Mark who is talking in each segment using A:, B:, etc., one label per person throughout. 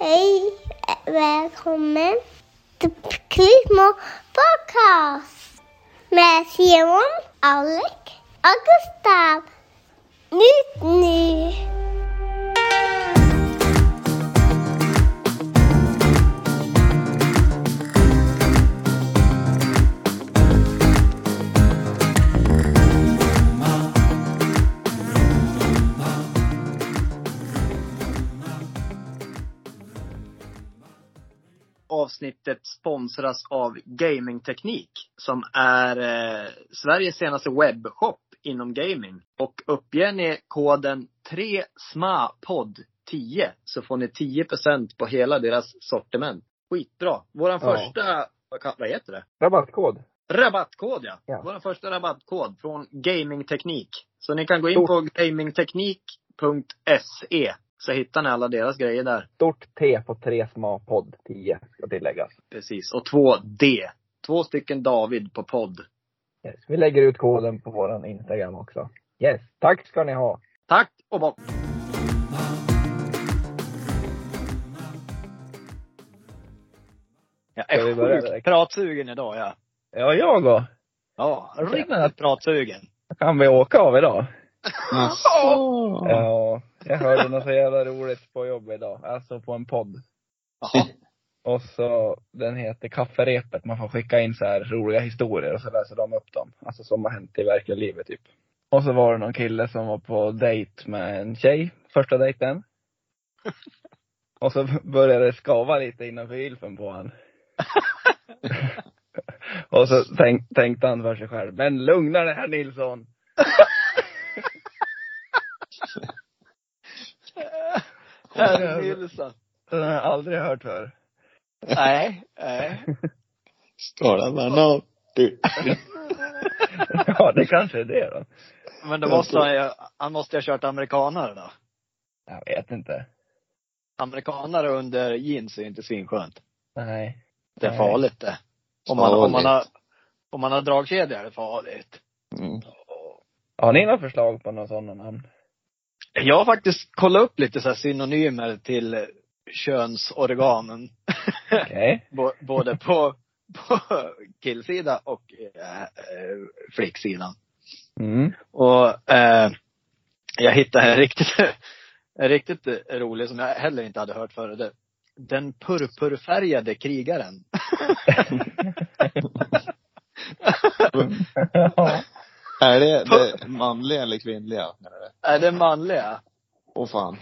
A: Hej, välkommen till Kvittmo Podcast med Simon, Alec och Gustav. Nytt nu!
B: avsnittet sponsras av Gamingteknik som är eh, Sveriges senaste webbshop inom gaming. Och uppger ni koden 3SMAPOD10 så får ni 10% på hela deras sortiment. Skitbra! Våran
C: Ja.
B: första, vad kan- vad heter det?
C: Rabattkod.
B: Rabattkod ja.
C: Ja.
B: Vår första rabattkod från Gamingteknik. Så ni kan gå in
C: Stort.
B: på gamingteknik.se E så hittar ni alla deras grejer där.
C: Stort T på tre små podd 10 ska tilläggas.
B: Precis. Och två D. Två stycken David på podd.
C: Yes. Vi lägger ut koden på våran Instagram också. Yes, tack ska ni ha.
B: Tack och bock! Jag
C: Ska vi börja
B: är sjukt
C: direkt?
B: pratsugen idag ja.
C: Ja, jag då.
B: Ja, riktigt pratsugen.
C: Kan vi åka av idag?
B: Jaha.
C: Ja, jag hörde något så jävla roligt på jobbet idag. Alltså på en podd. Och så, den heter Kafferepet. Man får skicka in så här roliga historier och så läser de upp dem. Alltså som har hänt i verkliga livet typ. Och så var det någon kille som var på dejt med en tjej, första dejten. Och så började det skava lite innanför gylfen på han. och så tänk, tänkte han för sig själv, men lugna dig herr Nilsson.
B: Herr Nilsson.
C: Den har jag aldrig hört för.
B: Nej, nej.
D: Skala
C: Typ.
D: bananer.
C: ja, det kanske är det då.
B: Men då måste han ju, han måste ju ha kört amerikanare då.
C: Jag vet inte.
B: Amerikanare under jeans är ju inte svinskönt.
C: Nej.
B: Det är
C: Nej.
B: farligt det. Eh, Om man, om man
D: Farligt.
B: har, om man har dragkedja är det farligt.
D: Mm.
C: Har ni några förslag på några sådana namn?
B: Jag har faktiskt kollat upp lite så här synonymer till eh, könsorganen.
C: Okej.
B: Bå- Både på, på killsida och eh, eh, flicksidan.
C: Mm.
B: Och eh, jag hittade en riktigt, en riktigt rolig som jag heller inte hade hört förut. Det- Den purpurfärgade krigaren.
C: ja.
D: Är det, det manliga eller kvinnliga? menar du?
B: Är det manliga?
D: Åh fan.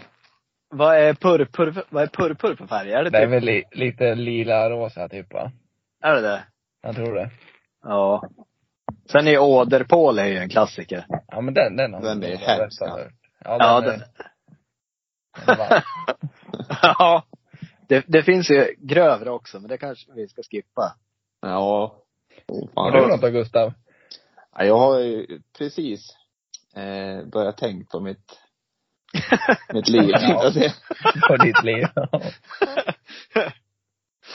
B: Vad är purpur, vad är purpur för färg? Är det,
C: Det är
B: typ,
C: väl li, lite lila rosa typ va?
B: är det det?
C: Jag tror det.
B: Ja. Sen är åderpål är ju en klassiker.
C: Ja men den, den har
D: Den är
C: jag
D: hemsk,
C: rätt
D: ja.
C: för. Ja,
B: Ja,
C: den, är-
B: den-
C: den var-
B: ja. Det, det finns ju grövre också, men det kanske vi ska skippa.
D: Ja. Åh,
C: Har
D: fan.
C: du något då Gustav?
D: Ja, jag har ju precis eh, börjat tänka på mitt, mitt liv.
C: Ja.
D: Alltså, jag-
C: På ditt liv?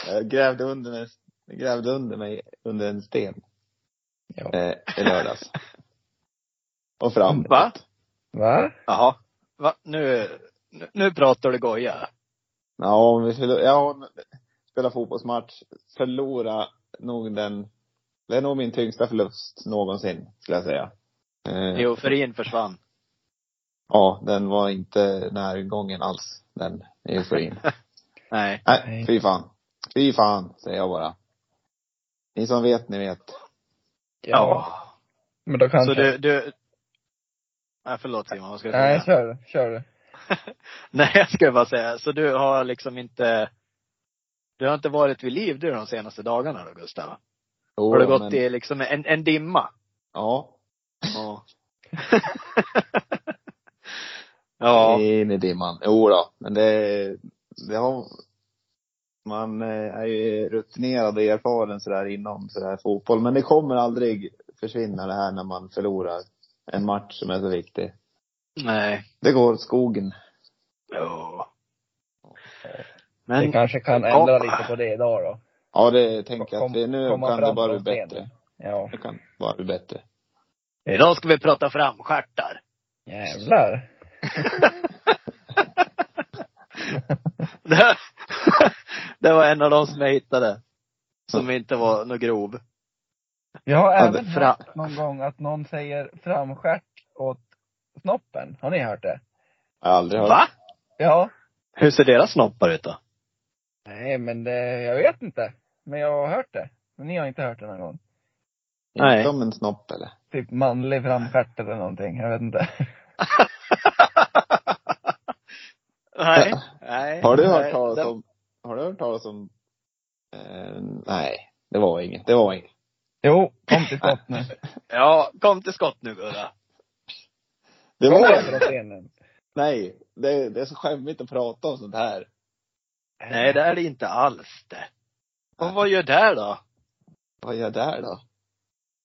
D: jag grävde under, mig- jag grävde under mig under en sten
C: Ja.
D: eh, i lördags. Och fram.
B: Va?
C: Va?
B: Jaha. Va? Nu, nu, nu pratar du goja.
D: Ja, om vi förlor, ja, om- spela fotbollsmatch, förlora nog den, det är nog min tyngsta förlust någonsin, skulle jag säga. Eh,
B: Euforin försvann.
D: Ja, den var inte närgången alls, den euforin.
B: Nej.
D: Nej,
C: Nej.
D: fy fan. Fy fan, säger jag bara. Ni som vet, ni vet.
C: Men då kanske...
B: Så du, du... Nej, förlåt Simon, vad ska jag säga?
C: Nej, kör, kör du.
B: Nej, jag skulle bara säga, så du har liksom inte, du har inte varit vid liv du de senaste dagarna då Gustav?
D: Jo,
B: Har du gått
D: men-
B: i liksom en, en dimma?
D: Ja.
B: Ja. ja.
D: In i dimman. Jo då, men det, det har, man eh, är ju rutinerad och erfaren sådär inom sådär fotboll. Men det kommer aldrig försvinna det här när man förlorar en match som är så viktig.
B: Nej.
D: Det går åt skogen.
B: Ja.
C: Vi
B: Men,
C: kanske kan ändra
B: Ja.
C: lite på det idag då.
D: Ja, det tänker jag
C: Kom-
D: att det, nu
C: komma
D: kan det
C: fram
D: bara bli
C: från stenen.
D: bättre.
C: Ja.
D: Nu kan det bara bli bättre.
B: idag ska vi prata framstjärtar.
C: Jävlar.
B: Det, det var en av dem som jag hittade. Som inte var någon grov.
C: Jag har
B: Ja,
C: även
B: det- fra-
C: hört någon gång att någon säger framstjärt åt snoppen. Har ni hört det?
D: Jag har aldrig hört.
B: Va?
C: Ja.
B: Hur ser deras snoppar ut då?
C: Nej, men det, jag vet inte. Men jag har hört det. Men ni har inte hört det någon gång.
B: Nej.
D: Som en snopp eller?
C: Typ manlig framstjärt eller någonting. Jag vet inte.
B: Nej. Nej.
D: Har du
B: Nej,
D: hört talas
B: den-
D: om, har du hört talas om, eh, nej, det var inget, det var inget.
C: Jo, kom till skott nu.
B: Ja, kom till skott nu Gurra.
D: Det
C: Kom
D: var
C: över
D: inget.
C: åt scenen.
D: Nej, det, det är så skämmigt att prata om sånt här.
B: Nej, det är det inte alls det. Och vad gör där då?
D: Vad gör jag där då?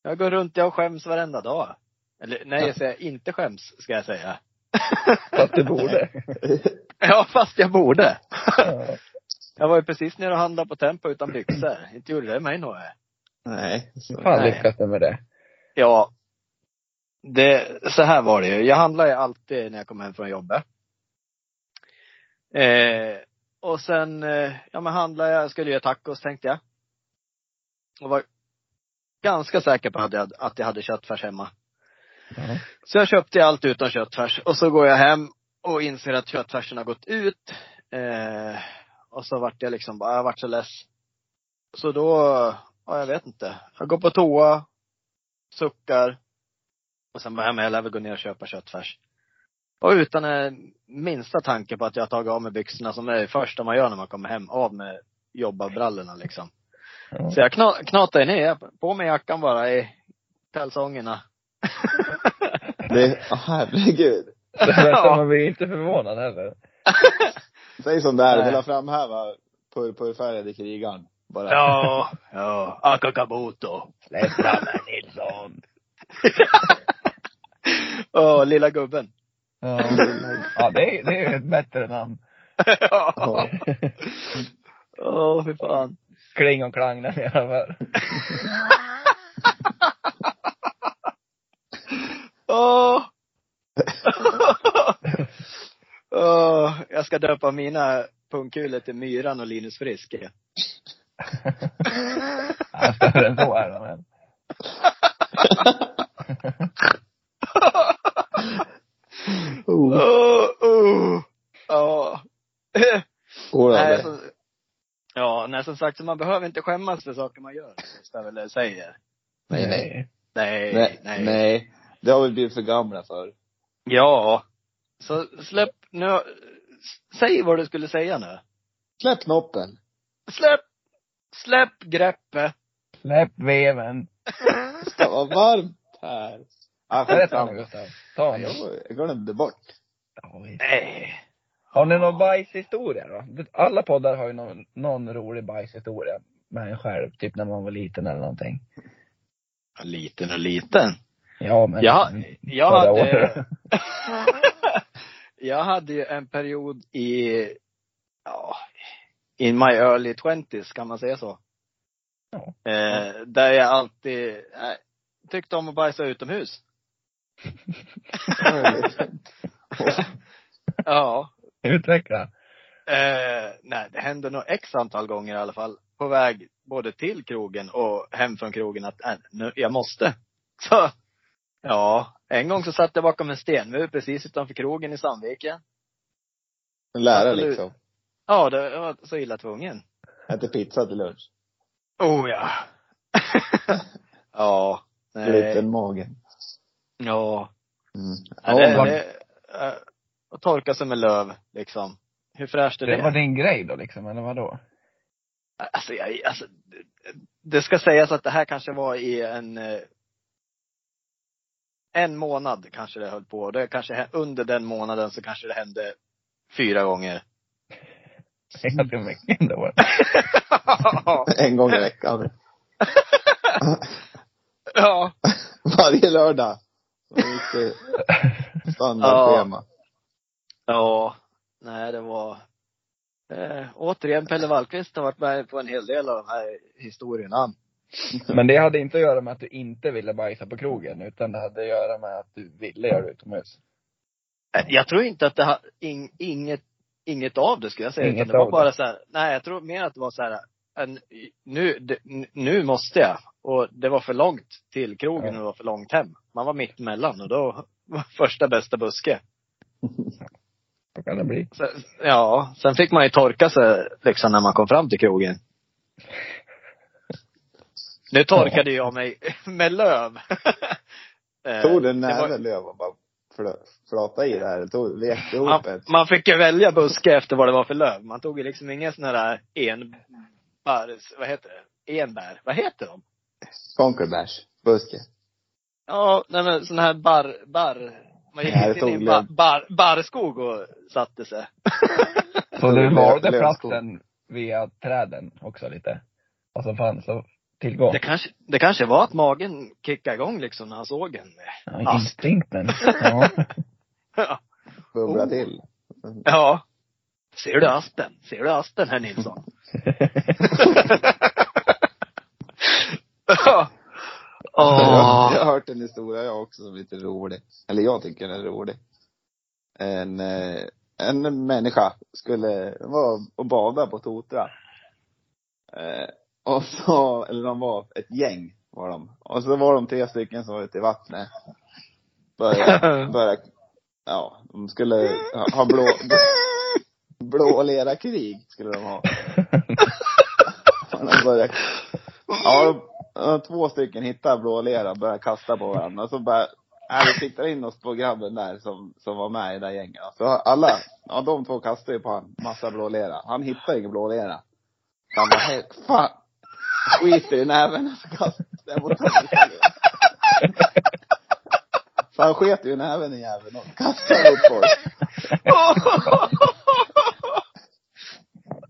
B: Jag går runt, jag skäms varenda dag. Eller nej, jag säger inte skäms, ska jag säga.
C: Fast du borde.
B: Ja, fast jag borde.
C: Ja.
B: Jag var ju precis nere och handlade på Tempo utan byxor. Inte gjorde det mig något.
D: Nej. så-
C: Fan
B: Nej.
C: lyckas du med det.
B: Ja. Det, så här var det ju. Jag handlar ju alltid när jag kommer hem från jobbet. Eh, och sen, eh, ja men handlade jag, skulle göra tacos tänkte jag. Och var ganska säker på att jag, att jag hade köttfärs hemma.
C: Ja.
B: Så jag köpte allt utan köttfärs. Och så går jag hem och inser att köttfärsen har gått ut. Eh, och så vart jag liksom bara, jag vart så less. Så då, ja jag vet inte. Jag går på toa, suckar. Och sen bara, ja, men jag lär väl gå ner och köpa köttfärs. Och utan en minsta tanke på att jag har tagit av mig byxorna som är det första man gör när man kommer hem. Av med jobbarbrallorna liksom.
C: Ja.
B: Så jag kna- knatade ner, på mig jackan bara i kalsongerna.
D: Det, åh, herregud.
C: Berätta, Man blir inte förvånad heller.
D: Säg sånt där,
B: Nej.
D: vill ha framhäva purpurfärgade krigaren. Bara.
B: Ja, ja. Akakabuto.
C: Släpp fram en Nilsson.
B: Åh, lilla gubben.
C: Ja, ja det, är, det är ju ett bättre namn.
B: Ja.
D: Ja.
B: Åh, fy fan.
C: Kling och klang där nere.
B: Åh. Åh, jag ska döpa mina pungkulor till Myran och Linus Frisk.
C: Ja, Större än så är de än.
D: Oh,
B: Åh, åh. Ja.
D: oh,
B: Nej, alltså,
D: det.
B: så, ja, nej, som sagt, så man behöver inte skämmas för saker man gör, ska jag väl säga.
D: Nej, nej.
B: Nej,
D: Nej,
B: nej.
D: nej. Det har vi blivit för gamla för.
B: Ja. Så släpp nu. Säg vad du skulle säga nu.
D: Släpp knoppen.
B: Släpp, släpp greppet.
C: Släpp veven. Mm.
D: Det ska vara varmt här. Ah,
C: Berätta nu
D: skitsamma.
C: Gustav. Ta nu.
D: Jag glömde bort.
B: Nej.
C: Har ni någon bajshistoria då? Alla poddar har ju någon, någon rolig bajshistoria med en själv. Typ när man var liten eller någonting.
B: Liten och liten.
C: Ja men.
B: Ja, jag
C: Mm. förra
B: hade,
C: året.
B: jag hade ju en period i, ja, in my early twenties, kan man säga så?
C: Ja.
B: Eh, där jag alltid eh, tyckte om att bajsa utomhus. Ja.
C: Utveckla.
B: Eh, nej, det hände nog x antal gånger i alla fall. På väg både till krogen och hem från krogen att äh, nu, jag måste. Så, ja. En gång så satt jag bakom en stenmur precis utanför krogen i Sandviken.
D: En lärare
B: Absolut.
D: liksom.
B: Ja, det jag var så illa tvungen.
D: Äter pizza till lunch.
B: Oh ja. ja. Nej.
D: Liten magen.
B: Ja.
D: Mm.
B: ja det,
D: Ja,
B: det, eh, att torka sig med löv, liksom. Hur fräscht är det?
C: Det var din grej då liksom, eller vadå?
B: Alltså, jag, alltså, det- det ska sägas att det här kanske var i en eh, en månad kanske det höll på. Det kanske, hä- under den månaden så kanske det hände fyra gånger.
C: Det är ganska mycket ändå.
D: En gång i veckan.
B: ja.
D: Varje lördag. Det var lite Standardschema.
B: Ja. Nej, det var eh, återigen Pelle Wallqvist har varit med på en hel del av de här historierna.
D: Mm.
C: Men det hade inte att göra med att du inte ville bajsa på krogen, utan det hade att göra med att du ville göra det utomhus.
B: Eh, Jag tror inte att det har in, inget inget av det skulle jag säga. Utan
C: Inget
B: det var
C: av
B: bara
C: det.
B: så här, nej jag tror mer att det var så här, en, nu, det, nu måste jag. Och det var för långt till krogen
C: Ja.
B: och det var för långt hem. Man var mitt emellan och då var första bästa buske.
C: Så kan det bli.
B: Sen, ja, sen fick man ju torka sig liksom när man kom fram till krogen. Nu torkade jag mig med löv. Eh,
D: Tog du en
B: det var-
D: näve löv och bara flö- flata i det här? Tog, lekte
B: man,
D: ihop ett?
B: man fick ju välja buske efter vad det var för löv. Man tog ju liksom inga sådana där enbär, vad heter det? Enbär, vad heter de?
D: Conquerbärs? Buske?
B: Ja, nej men sådana här barr, barr. Man gick
D: Nej, det
B: in i
D: tog
B: en bar,
D: löv.
B: bar, barrskog och satte sig.
C: Så
D: det
C: du
D: blev
C: valde
D: lövskog.
C: platsen via träden också lite? Vad som fanns att tillgå?
B: Det kanske, det kanske var att magen kickade igång liksom när han såg en.
C: Ja, instinkten. Ja.
D: Bubbla
B: Oh.
D: till?
B: Ja. Ser du aspen? Ser du aspen herr Nilsson? ja.
D: Jag,
B: Åh.
D: jag har hört en historia jag också som är lite rolig. Eller jag tycker den är rolig. En, eh, en människa skulle vara och bada på Totra. Eh, och så, eller de var ett gäng var de. Och så var de tre stycken som var ute i vattnet. Började, började ja, de skulle ha, ha blå, blå lera krig skulle de ha. Och de började, ja, de, Ja, två stycken hittar blålera och börjar kasta på varandra. Och så bara, nej vi siktar in oss på grabben där som, som var med i det där gänget. Så alla, ja de två kastar ju på han, massa blålera. Han hittar ingen blålera. Så han bara, hej, fan. Skiter i näven och så kastar jag mot honom. Så han sket ju i näven i jäveln och kastade mot folk.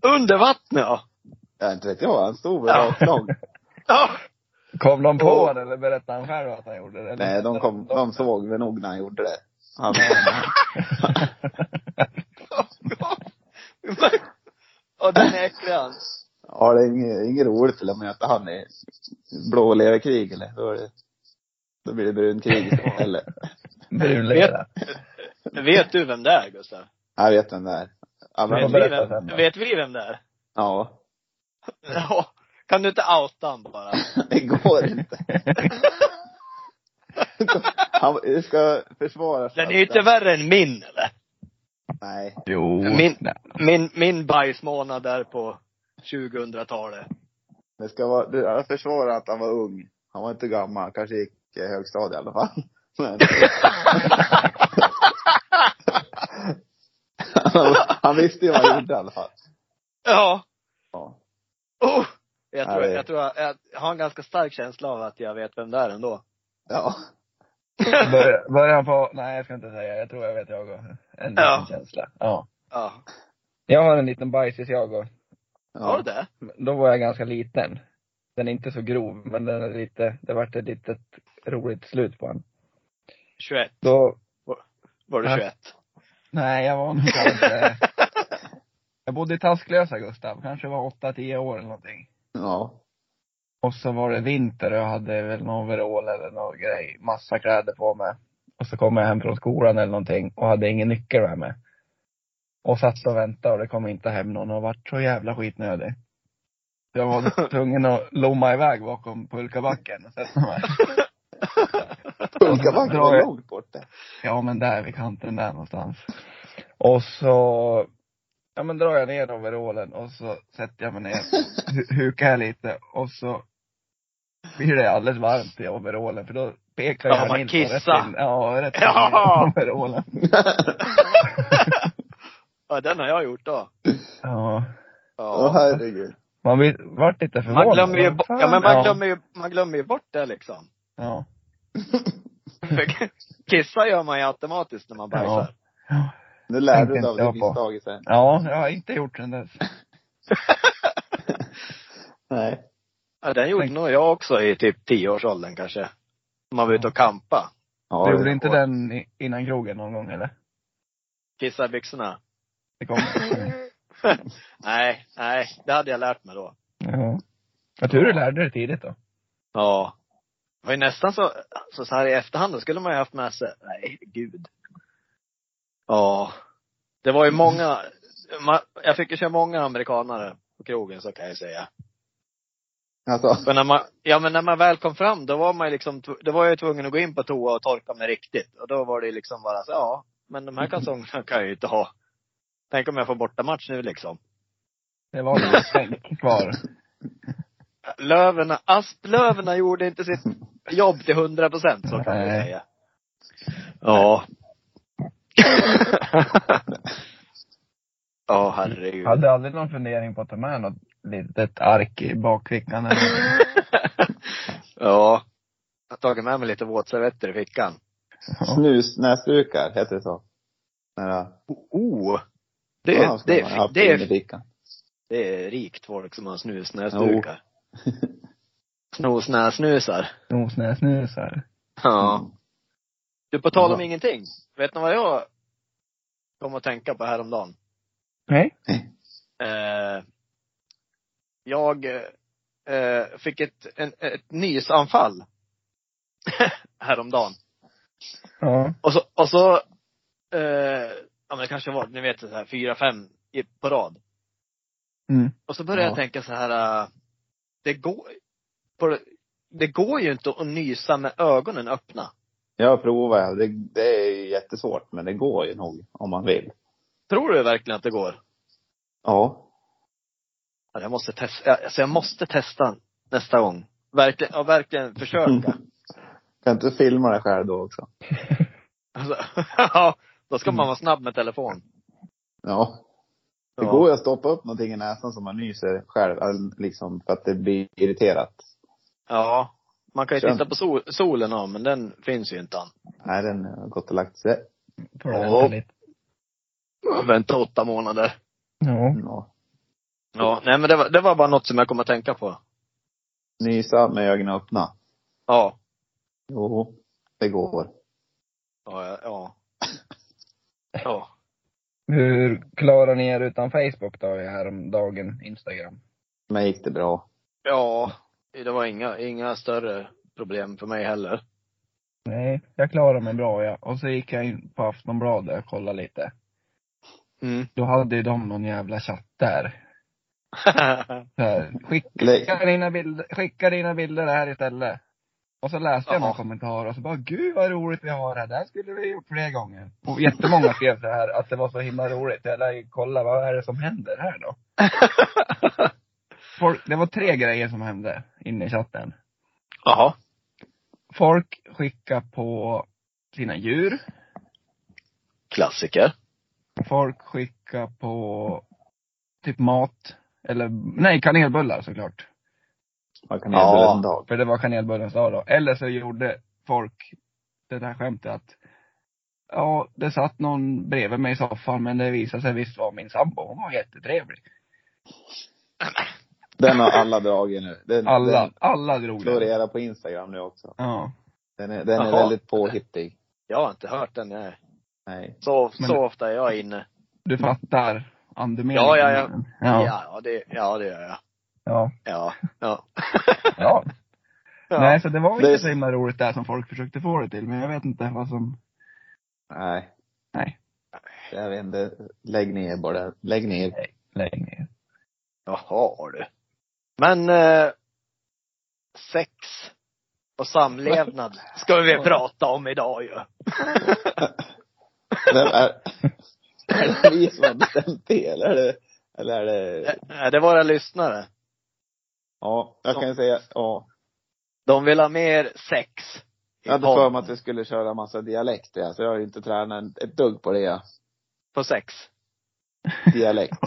B: Under vattnet ja.
D: Jag inte vet jag, han stod väl rakt lång.
B: ja.
C: Kom de på
B: Oh.
C: honom eller berättade han själv att han gjorde det? Eller-
D: Nej, de kom, de såg väl nog när han gjorde det. Han,
B: Ja, den är äcklig han.
D: Ja, det är inget, inget roligt till att möta han i blåleverkrig eller? Då, är det, då blir det brunkrig eller?
C: Brunlera.
B: Vet du vem det är Gustav?
D: Jag vet den där. Ja,
C: Vi
B: Vet
C: får
D: men,
B: vi,
C: berätta
B: vem,
C: sen då.
B: vet vi vem det är?
D: ja,
B: Ja. Kan du inte outa han bara?
D: det går inte. Han det ska försvara sig.
B: Den är ju inte värre än min eller?
D: Nej.
C: Jo.
B: Min-
C: Nej.
B: Min, min bajsmånad där på 2000-talet.
D: Det ska vara, du, jag försvarar att han var ung. Han var inte gammal. Kanske gick i högstadiet i alla fall. Men, han, han visste ju vad han gjorde i alla fall.
B: Ja.
D: Ja.
B: Oh. Jag tror,
D: Ja, det-
B: jag, tror jag, jag har en ganska stark känsla av att jag vet vem det är ändå.
D: Ja.
C: Börjar börjar han på, nej jag ska inte säga, jag tror jag vet jag också. En liten
B: Ja.
C: känsla. Ja.
B: Ja.
C: Jag har en liten bajsis jag också.
B: Har du det?
C: Då var jag ganska liten. Den är inte så grov, men den är lite, det vart ett litet roligt slut på den.
B: 21.
C: Då,
B: Var du
C: Ja.
B: 21?
C: nej jag var nog kanske, jag bodde i Tasklösa Gustav, kanske var 8-10 år eller någonting.
D: Ja.
C: Och så var det vinter och jag hade väl någon overall eller någon grej, massa kläder på mig. Och så kom jag hem från skolan eller någonting och hade ingen nyckel med mig. Och satt och väntade och det kom inte hem någon och vart så jävla skitnödig. Så Jag var tvungen att lomma iväg bakom pulkabacken och sätta mig.
D: Pulkabacken var långt borta.
C: Ja men där vid kanten där någonstans. Och så, ja men drar jag ner overallen och så sätter jag mig ner, hu- hukar jag lite och så blir det alldeles varmt i overallen för då pekar
B: Ja,
C: jag
B: man
C: Nilsson rätt
B: kissar.
C: in, ja rätt in
B: Ja.
C: i overallen.
B: Ja, den har jag gjort då.
C: Ja.
B: Ja.
D: Åh herregud.
C: Man blir, vart lite förvånad.
B: Man glömmer ju,
C: Vad
B: bo-
C: fan?
B: ja, men man glömmer ju, man glömmer ju bort det liksom.
C: Ja.
B: För Kissa gör man ju automatiskt när man bajsar.
C: Ja.
D: Nu lärde
C: Tänkte
D: du dig av
C: inte jag
D: ditt
C: på.
D: misstag sen.
C: ja, jag har inte gjort sen dess.
D: Nej.
B: Ja, den gjorde nog jag också i typ 10-årsåldern kanske. Man var ute och kampa.
D: Ja,
C: Du gjorde
D: det-
C: inte den i- innan krogen någon gång eller?
B: Kissa i byxorna.
C: Det kom.
B: Nej, nej, det hade jag lärt mig då.
C: Ja. Jag tur du lärde dig tidigt då.
B: Ja. Det var ju nästan så, så, så här i efterhand, då skulle man ju haft med sig, nej gud. Ja. Det var ju många, ma, jag fick ju köra många amerikanare på krogen så kan jag säga.
D: Alltså,
B: Men när man, ja men när man väl kom fram då var man ju liksom, tv- då var jag ju tvungen att gå in på toa och torka mig riktigt. Och då var det liksom bara så, ja, men de här kalsongerna kan jag ju inte ha. Tänk om jag får bortamatch nu liksom.
C: Det var några stänk kvar.
B: Löverna, asplöverna gjorde inte sitt jobb till hundra procent, så kan man
C: Nej.
B: säga. Ja. Ja, herregud.
C: Jag hade aldrig någon fundering på att ta med något litet ark i bakfickan eller
B: ja. Jag har tagit med mig lite våtservetter i fickan.
D: snusnäsdukar, heter det så? Nära.
B: Oh! Det,
D: Ja,
B: är
D: skulle
B: det,
D: man
B: är
D: haft
B: det,
D: in i
B: är
D: fickan.
B: det är rikt folk som har snusnäsdukar. Snosnäsnusar.
C: nosnäsnusar.
D: Mm.
B: Ja. Du, på tal om
D: Ja.
B: ingenting. Vet ni vad jag kom att tänka på häromdagen?
C: Nej.
B: Eh, jag eh, fick ett, en, ett nysanfall häromdagen.
C: Ja.
B: Och så, och så eh, ja men det kanske var, ni vet så här fyra, fem i, på rad.
C: Mm.
B: Och så började
D: Ja.
B: jag tänka så här, eh, det går, på, det går ju inte att nysa med ögonen öppna.
D: Jag provar. Det, det är ju jättesvårt, men det går ju nog om man vill.
B: Tror du verkligen att det går?
D: Ja.
B: Ja, Jag måste testa, alltså jag måste testa nästa gång. Verkligen, ja, verkligen
D: Mm.
B: försöka.
D: Kan inte filma det själv då också?
B: Alltså, ja, då ska man vara snabb med telefon.
D: Ja. Mm. Det
B: Ja.
D: går ju att stoppa upp någonting i näsan som man nyser själv, eller liksom för att det blir irriterat.
B: Ja. Man kan ju
D: Kör.
B: titta på sol, solen ja, men den finns ju inte än.
D: Nej, den har gått och lagt sig.
C: Får du
B: Ja.
C: vänta lite.
B: Vänta åtta månader.
C: Ja.
D: Ja.
B: Ja, nej men det var, det var bara något som jag kom att tänka på.
D: Nysa med ögonen öppna.
B: Ja.
D: Jo, det går.
B: Ja. ja, Ja. ja.
C: Hur klarar ni er utan Facebook då häromdagen, Instagram?
D: Men gick det bra.
B: Ja. Det var inga, inga större problem för mig heller.
C: Nej, jag klarade mig bra ja. Och så gick jag in på Aftonbladet och kollade lite.
B: Mm.
C: Då hade ju de någon jävla chatt där. Så här, skick,
D: Lä-
C: skicka, dina bilder, skicka dina bilder här istället. Och så läste jag
B: Jaha.
C: någon kommentar och så bara, gud vad roligt vi har här. Det här skulle vi gjort fler gånger. Och jättemånga skrev så här att det var så himla roligt. Jag lär ju kolla, vad är det som händer här då? Folk, det var tre grejer som hände inne i chatten.
B: Jaha.
C: Folk skickar på sina djur.
B: Klassiker.
C: Folk skickar på typ mat. Eller, nej kanelbullar såklart.
D: Man kan
B: Ja.
D: ja. en dag.
C: För det var kanelbullens dag då. Eller så gjorde folk det där skämtet att Ja, det satt någon bredvid mig i soffan men det visade sig visst vara min sambo. Hon var jättetrevlig.
D: Den har alla dragit nu. Den,
C: Alla,
D: Den
C: alla drog det.
D: florerar på Instagram nu också.
C: Ja.
D: Den är, den är
B: Jaha.
D: väldigt påhittig.
B: Jag har inte hört den. Nej.
D: Nej.
B: Så,
C: Men-
B: så ofta är jag inne.
C: Du fattar andemeningen?
B: Ja, ja, ja.
C: Ja.
B: Ja, ja, det, ja det gör jag.
C: ja.
B: Ja. Ja.
C: ja.
B: ja.
C: Nej, så det var
D: Det-
C: inte så himla roligt där som folk försökte få det till. Men jag vet inte vad som...
D: Nej.
C: Nej.
D: Jag vet inte. Lägg ner bara. Lägg ner.
C: Lägg ner.
B: Jaha du. Men eh, sex och samlevnad ska vi prata om idag ju.
D: Vem är, är det vi som har bestämt det eller är det, eller är det,
B: Eh, Det är våra lyssnare.
D: ja, jag kan ju säga, ja.
B: De vill ha mer sex. i
D: Jag hade
B: podden.
D: för mig att vi skulle köra massa dialekter, ja, så jag har ju inte tränat en- ett dugg på det. ja.
B: På sex.
D: Dialekt.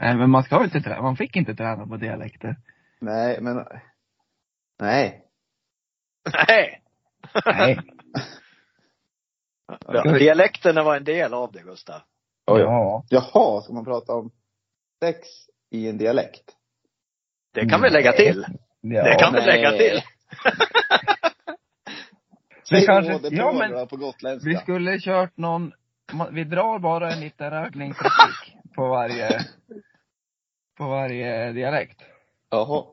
C: Nej, men man ska ju inte träna. Man fick inte träna på dialekter.
D: Nej, men, nej.
B: Nej!
C: Nej.
B: Ja, Dialekterna var en del av det, Gustav.
D: Oj.
C: Ja.
D: Jaha, ska man prata om sex i en dialekt?
B: Det kan vi lägga till.
C: ja.
B: Det kan vi lägga
D: Mm. nej.
B: till.
C: Vi
D: Säg
C: kanske-
D: åh, det
C: ja,
D: bra,
C: men-
D: bra på gotländska.
C: Vi skulle kört någon... ma- Vi drar bara en liten rökningsreplik på varje... På varje dialekt.
D: Jaha.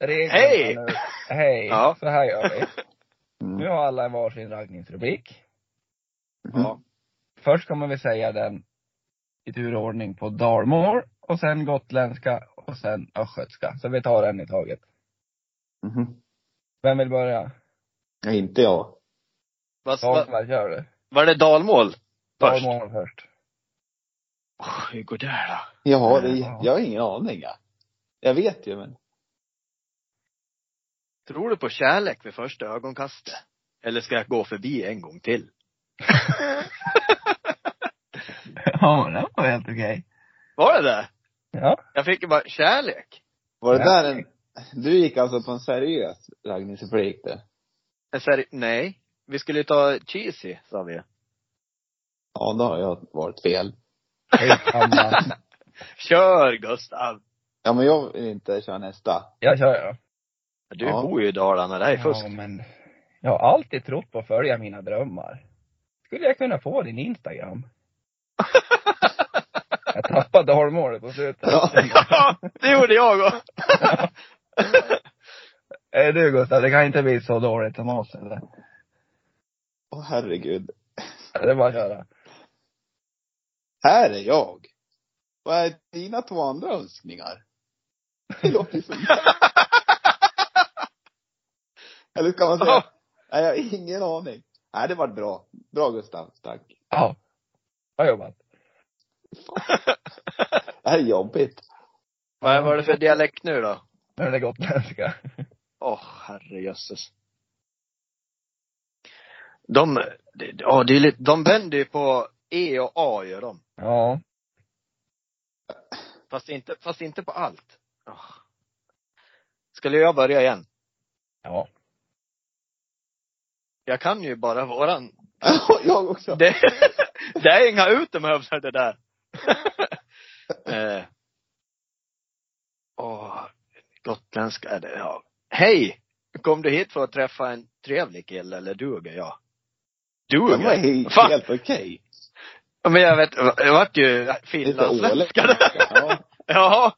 C: Reglerna
B: Hej!
C: nu. Hej!
B: Ja.
C: Så här gör vi. Nu
D: Mm.
C: har alla en varsin raggningsrubrik.
B: Ja.
C: Först kommer vi säga den i turordning på dalmål och sen gotländska och sen östgötska. Så vi tar en i taget.
D: Mhm.
C: Vem vill börja?
D: Ja, inte jag.
B: Vad, vad,
C: Dalsberg, kör du.
B: var det dalmål? Först?
C: Dalmål först.
B: Oh, hur går det här då?
D: Jag har, det,
C: Ja.
D: jag har ingen aning. ja. Jag vet ju men.
B: Tror du på kärlek vid första ögonkastet? Eller ska jag gå förbi en gång till?
C: Ja, men det var helt okej.
B: Var det det?
C: Ja.
B: Jag fick ju bara, kärlek?
D: Var det
C: Ja.
D: där en, du gick alltså på en seriös raggningsreplik där?
B: En seri- nej. Vi skulle ju ta cheesy, sa vi.
D: Ja, då har jag varit fel.
C: Hej, Anna.
B: Kör Gustav!
D: Ja, men jag vill inte köra nästa.
C: Jag kör jag.
B: Du
D: Ja.
B: bor ju i Dalarna, det här är fusk.
C: Ja, men jag har alltid trott på att följa mina drömmar. Skulle jag kunna få din Instagram? jag tappade dalmålet på slutet.
D: Ja.
B: Ja, det gjorde jag också.
C: Är du Gustav, det kan inte bli så dåligt som oss eller?
D: Åh herregud.
C: Det är bara att köra.
D: Här är jag. Vad är dina två andra önskningar? Det låter så Eller ska man säga? Nej, jag har ingen aning. Nej, det var bra. Bra Gustav. Tack.
C: Ja. Bra jobbat.
D: Det här är jobbigt.
B: Vad var det för dialekt nu då?
C: Nu är det gotländska.
B: Åh, herrejösses. De, det- ja det är lite, de vänder ju på E och A gör de.
C: Ja.
B: Fast inte, fast inte på allt. Åh. Skulle jag börja igen?
C: Ja.
B: Jag kan ju bara våran.
D: Jag också.
B: Det, det är inga utomhövs det där. eh. Åh, gotländska är det, ja. Hej! Kom du hit för att träffa en trevlig kille eller duger jag?
D: Det var
B: Duger?
D: helt,
B: Fan.
D: helt okej.
B: Ja, Men jag vet, jag vart ju
D: Lite
B: finlandssvenska
D: åländska.
B: där.
D: Ja.
B: Jaha.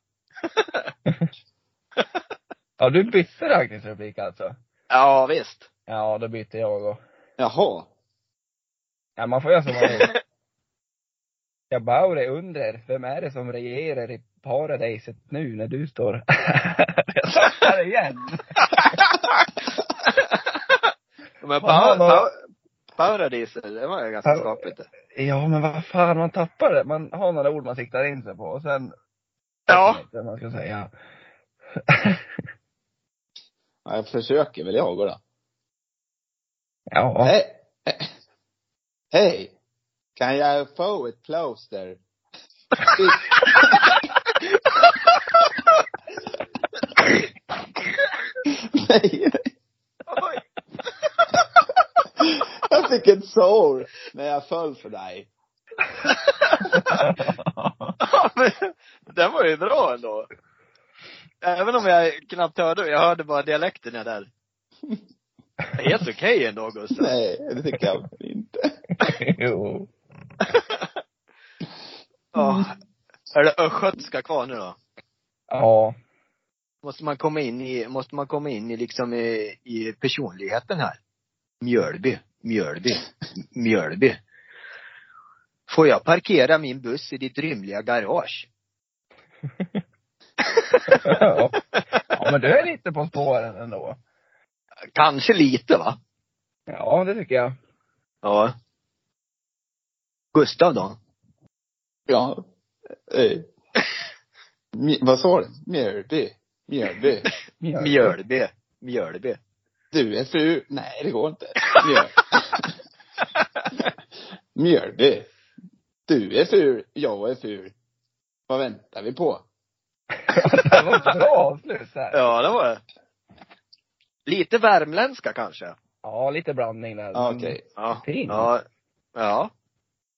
C: Ja, du bytte raggningsreplik alltså?
B: Ja, visst.
C: Ja, då bytte jag och.
D: Jaha.
C: Ja, man får göra som man vill. Jag bara det under, vem är det som regerar i paradiset nu när du står Jag tappar igen.
B: Men
C: Aha,
B: pa-
C: vad-
B: pa- paradiser, det var ju ganska
C: Ja.
B: skapligt det.
C: Ja, men vad fan, man tappar det. Man har några ord man siktar in sig på och sen...
B: Ja.
C: Jag vet inte vad man ska säga.
D: Ja, jag försöker väl jag då.
C: Ja.
D: Hej! Hej! Kan jag få ett plåster? Nej,
B: Oj.
D: jag fick ett sår när jag föll för dig.
B: Ja, men Den var ju bra ändå. Även om jag knappt hörde, jag hörde bara dialekterna där. Helt okej ändå Gustav.
D: Nej, det tycker jag inte.
C: jo.
B: Ja. Är det östgötska kvar nu då?
C: Ja.
B: Måste man komma in i, måste man komma in i liksom i, i personligheten här? Mjölby, Mjölby, Mjölby. Får jag parkera min buss i ditt rymliga garage?
C: ja. men du är lite på spåren ändå.
B: Kanske lite va?
C: Ja, det tycker jag.
B: Ja. Gustav då?
D: Ja. Eh. Mj- Vad sa du? Mjölby? Mjölby?
B: Mjölby, Mjölby.
D: Du är fru? Nej, det går inte. Mjöl. Mjölby. Du är ful, jag är ful. Vad väntar vi på?
C: det var ett bra avslut där. Ja.
B: Ja, det var det. Lite värmländska kanske?
C: lite blandning där.
D: Ja,
C: men-
D: Ah, Okej.
B: Ja.
C: Fint.
B: Ja. Ja.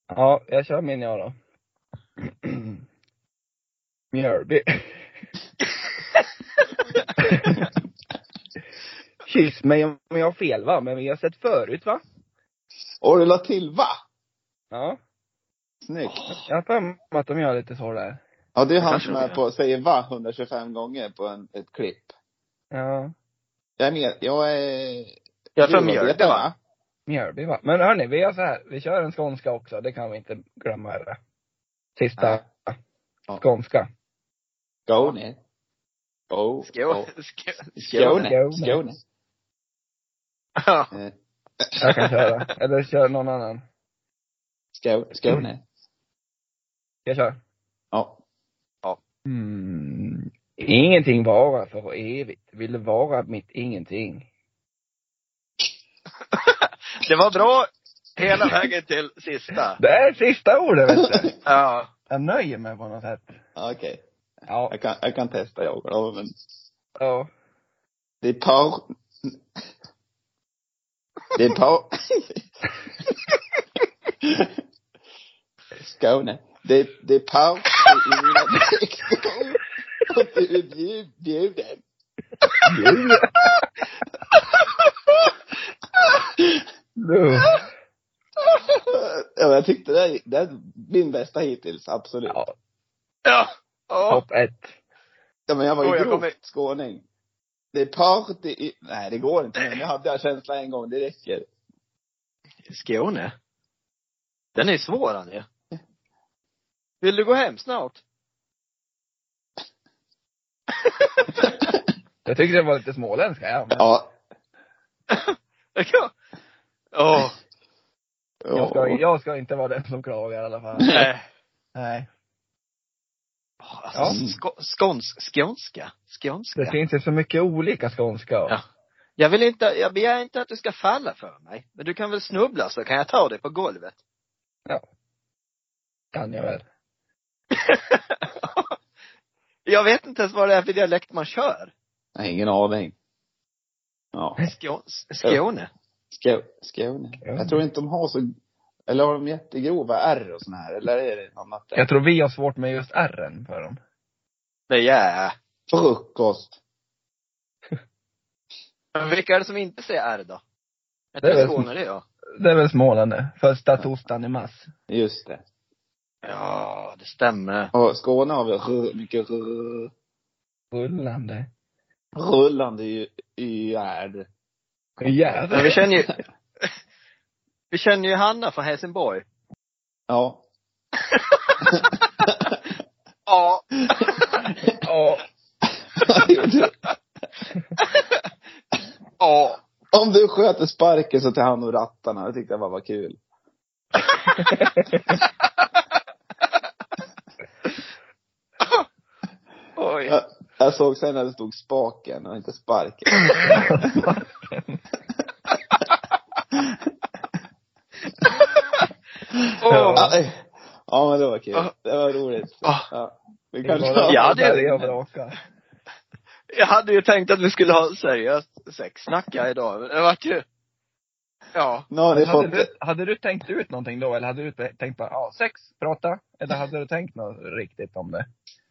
C: Ja, jag kör min jag då. Mjölby. Kyss mig om jag har fel va? Men vi har sett förut va?
D: Och du la till va?
C: Ja.
D: Snyggt.
C: Jag har för mig att de gör lite så där.
D: Ja, det är han
B: kanske
D: som
B: det
D: är
B: är.
D: på, säger va 125 gånger på en, ett klipp.
C: Ja.
D: Jag är med. Jag är...
B: Jag tror Mjölby va?
C: Mjölby va? Men hörni, vi gör så här. Vi kör en skånska också. Det kan vi inte glömma. Eller? Sista.
D: Ja.
C: Skånska.
D: Skåne. Skå-
B: Skåne.
D: Skå-
B: Skåne.
D: Skåne. Skåne.
B: Ja.
D: Eh,
C: Jag kan köra. Eller kör någon annan.
D: Skå- Skåne.
C: Jag kör.
D: Ja.
C: Mm. Ingenting vara för evigt. Vill vara mitt ingenting.
B: Det var bra hela vägen till sista.
C: Det är sista ordet vet du.
B: Ja.
C: Jag nöjer mig på något sätt.
D: Ja, Ah, Okej.
C: Ja.
D: Jag, kan, jag kan testa jag då, men
C: ja.
D: det är par... Det är par... Skåne. Det, det är par i mina texter. Och du är bjud, bjuden.
C: Du.
D: Ja, men jag tyckte det, är- det är min bästa hittills, absolut.
C: Ja.
B: Ja. ja.
C: Topp ett.
D: Ja, men jag var ju
B: Oj, jag
D: grovt
B: kommer-
D: skåning. Det är party i... Nej, det går inte. Men nu hade jag känslan en gång, det räcker.
B: Skåne. Den är svår Anja. Vill du gå hem snart?
C: Jag tyckte det var lite småländska. Ja. Men
D: Ja.
B: Ja. Åh.
C: jag, ska, jag ska inte vara den som klagar i alla fall.
B: nej.
C: Nej.
B: Alltså,
C: Ja.
B: sko- skånsk, skånska. Skånska.
C: Det finns ju så mycket olika skånska.
B: Ja. Jag vill inte, jag begär inte att du ska falla för mig. Men du kan väl snubbla så kan jag ta dig på golvet.
C: Kan jag väl.
B: jag vet inte ens vad det är för dialekt man kör.
D: Nej, ingen aning. Ja.
B: Skå, Skåne.
D: Skå- Skåne. Jag tror inte de har så... Eller har de jättegrova R och såna här? Eller är det annat? där?
C: Jag tror vi har svårt med just R'n för dem.
B: Nej, ja.
D: Frukost.
B: Men vilka är det som inte säger R då? Jag
C: Det är
B: tror
C: väl
B: Skåne det är jag.
C: Det är väl Småland det. Första torsdagen i mars.
D: Just det.
B: Ja, det stämmer.
D: Och Skåne har väl r- mycket r-
C: Rullande.
D: rullande y- yr.
B: Men vi
C: Jävlar.
B: känner ju, vi känner ju Hanna från Helsingborg.
D: Ja.
B: Ja.
C: Ja.
B: Ja.
D: Om du sköter sparken så tar han och rattarna. Det tyckte jag bara var kul.
B: Oj.
D: Jag, jag såg sen när det stod spaken och inte sparken.
B: Åh.
D: Ja, Ja, men det var kul. Det var roligt.
B: Ah.
D: Ja. Vi kanske
B: Ja, det är det.
C: jag brakar.
B: Jag hade ju tänkt att vi skulle ha seriöst sexsnacka idag. Men det vart ju, ja.
D: Nu har ni
C: Men Hade
D: fått...
C: du, hade du tänkt ut någonting då eller hade du t- tänkt bara, ja, sex, prata? Eller hade du tänkt något riktigt om det?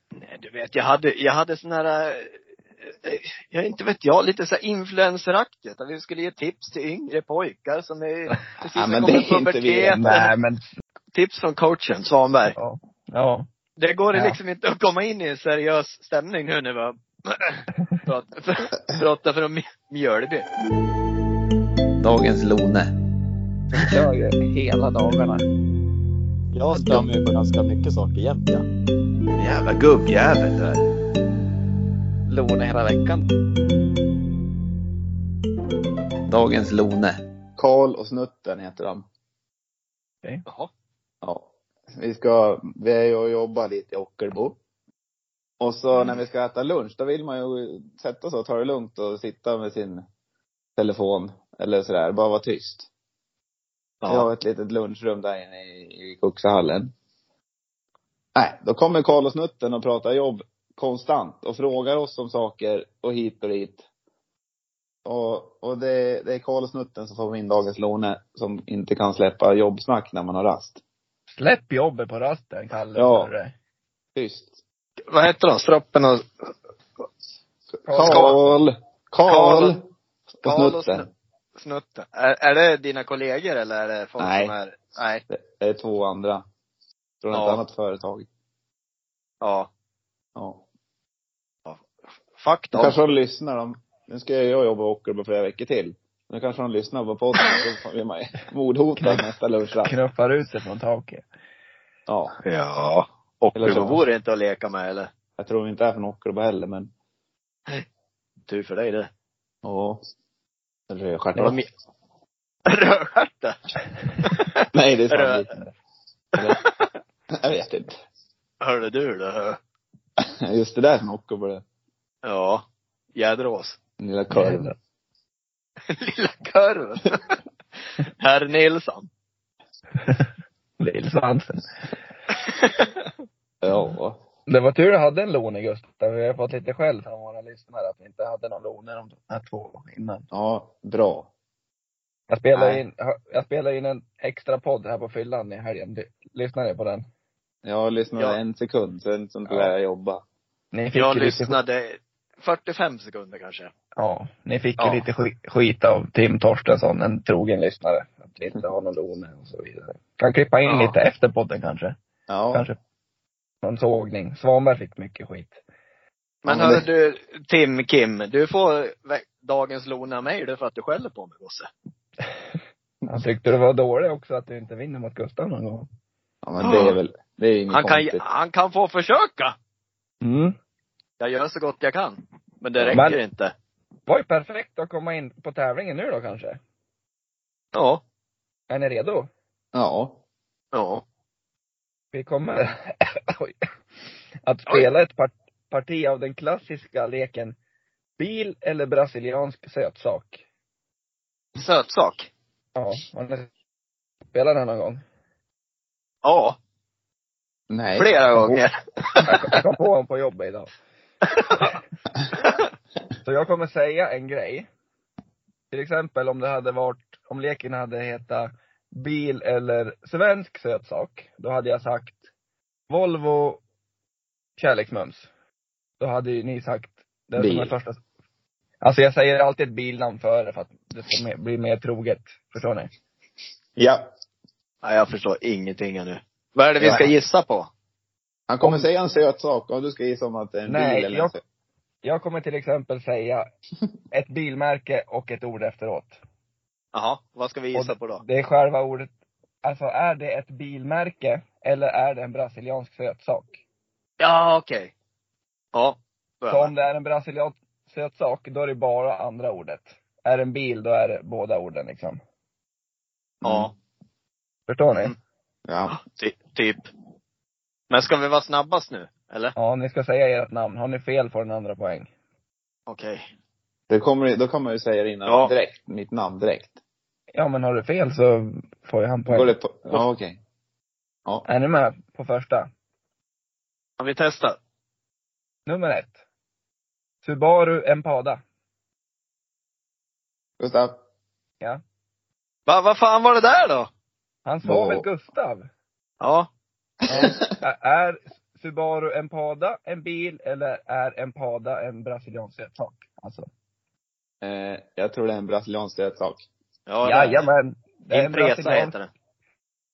B: Nej, du vet, jag hade, jag hade sån här, eh, eh, jag inte vet jag, lite så här influenceraktigt. Att vi skulle ge tips till yngre pojkar som är precis
D: Ja,
B: har
D: men
B: kommit
D: det är
B: från
D: inte vi.
B: puberteten.
C: Nej men,
B: Tips från coachen Svanberg.
C: ja. Ja.
B: Det går
C: Ja.
B: liksom inte att komma in i en seriös stämning nu när vi har pratat för, pratat för om Mjölby.
D: Dagens Lone.
C: Jag kör ju hela dagarna.
E: Jag stämmer ju på ganska mycket saker jämt ja.
D: Jävla gubbjävel du är.
E: Låna hela veckan.
D: Dagens Lone. Karl och Snutten heter de.
B: Jaha.
D: Ja. Vi ska, vi är ju och jobbar lite i Ockelbo. Och så när vi ska äta lunch, då vill man ju sätta sig och ta det lugnt och sitta med sin telefon eller sådär, bara vara tyst. Vi har ett litet lunchrum där inne i, i Kuxahallen. Nej, då kommer Karl och Snutten och pratar jobb konstant och frågar oss om saker och hit och dit. Och, och det, det är Karl och Snutten som får min dagens låne som inte kan släppa jobbsnack när man har rast.
C: Släpp jobbet på rasten, Kalle.
D: Ja.
C: för det.
D: Tyst.
B: Vad heter de? Stroppen och...
D: Karl! Karl!
B: Karl.
D: Och
B: Karl och
D: Snutten.
B: Snutten. Är, är det dina kollegor eller är det folk
D: Nej.
B: som är... Nej.
D: Det det är två andra. Från ett
B: Ja.
D: annat företag.
B: Ja.
D: Ja.
B: Fuck
D: De
B: dem.
D: kanske de lyssnar, de nu ska jag jobba och åka på flera veckor till. Nu kanske de lyssnar på podden, så blir man mordhotad nästa lunchrast.
C: Knuffar ut sig från taket.
D: Ja.
B: Ja. Och
D: Eller så.
B: det vore inte att leka med eller?
D: Jag tror inte det är från Ockelbo heller, men
B: Tur för dig det.
D: ja.
B: Det var
D: Rödstjärtar.
B: mi- Rödstjärta?
D: Nej, det är
B: Rö-
D: sannolikt inte. Eller- Jag vet inte.
B: Hörde du det?
D: Just det där är från Ockelbo, det.
B: Ja. Jäderås.
D: Den lilla korven.
B: Lilla kurven. Herr Nilsson.
C: Lillsvansen.
D: Ja.
C: Det var tur du hade en låne Gustav. Vi har fått lite skäll från våra lyssnare att vi inte hade någon låne de här två innan.
D: Ja, bra.
C: Jag spelar
D: Nej.
C: in, jag spelar in en extra podd här på fyllan i helgen. Du- Lyssnar ni på den?
D: Jag lyssnade
B: Ja.
D: en sekund, sen så
C: Ja.
D: började jag jobba.
C: Ni fick
B: Jag
C: ju Lite,
B: lyssnade 45 sekunder kanske.
C: ja, ni fick
B: Ja.
C: ju lite skit, skit av Tim Torstensson, en trogen lyssnare. Att vi inte har någon låne och så vidare. Kan klippa in
B: Ja.
C: lite efter podden kanske.
D: Ja.
C: Kanske någon sågning. Svanberg fick mycket skit.
B: Men
D: Ja,
B: hörru
D: men
B: du, Tim, Kim, du får vä- dagens lona av mig du för att du skäller på mig gosse.
C: Han tyckte det var dåligt också att du inte vinner mot Gustav någon gång.
D: Ja, men det är väl, det är inget
B: Han kan,
D: konstigt.
B: han kan få försöka.
C: Mm.
B: Jag gör så gott jag kan. Men det
C: Ja,
B: räcker
C: men-
B: inte.
C: var ju perfekt att komma in på tävlingen nu då kanske.
B: Ja.
C: Är ni redo?
D: Ja.
B: Ja.
C: Vi kommer Oj. att spela ett par- parti av den klassiska leken bil eller brasiliansk sötsak.
B: Sötsak.
C: Ja, har ni spelat den någon gång?
B: Ja.
D: Nej.
B: Flera gånger.
C: Jag kom på en på jobbet idag. Så jag kommer säga en grej. Till exempel om det hade varit, om leken hade hetat bil eller svensk sötsak. Då hade jag sagt Volvo kärleksmums. Då hade ju ni sagt det som är
D: Bil.
C: första. Alltså jag säger alltid ett bilnamn före för att det ska me- bli mer troget. Förstår ni?
D: Ja.
B: Nej, jag förstår ingenting här nu. Vad är det vi ska gissa på?
D: Han kommer säga en söt sak och du ska gissa om att det är en
C: Nej,
D: bil eller
C: jag-
D: en söt.
C: Jag kommer till exempel säga ett bilmärke och ett ord efteråt.
B: Jaha, vad ska vi gissa på då?
C: Det är själva ordet. Alltså är det ett bilmärke eller är det en brasiliansk sötsak?
B: Ja, okej. Ja. då är
C: Så
B: jag
C: om det är en brasiliansk sötsak, då är det bara andra ordet. Är det en bil, då är det båda orden liksom.
B: med. Ja.
C: Förstår ni?
B: Mm.
D: Ja.
B: Ty- typ. Men ska vi vara snabbast nu? Eller?
C: Ja, ni ska säga ert namn. Har ni fel får den andra poäng.
B: Okej.
D: Då kommer, då kommer du säga det innan
B: Ja.
D: direkt, mitt namn direkt.
C: Ja, men har du fel så får ju han
D: Går det
C: poäng.
D: på, ja okej. Ja.
C: Är ni med på första?
B: Ja, vi testar.
C: Nummer ett. Subaru Empada.
D: Gustav.
B: Va, vad fan var det där då?
C: Han svarar väl
D: Åh.
C: Gustav?
B: Ja.
C: Ä- Är Subaru Empada en bil eller är Empada en brasiliansk sötsak? Alltså.
D: Eh, jag tror det är en brasiliansk söt sak.
B: Ja, det-
C: Jajamän. Det är en
B: Impresa
C: brasiliansk.
B: heter den.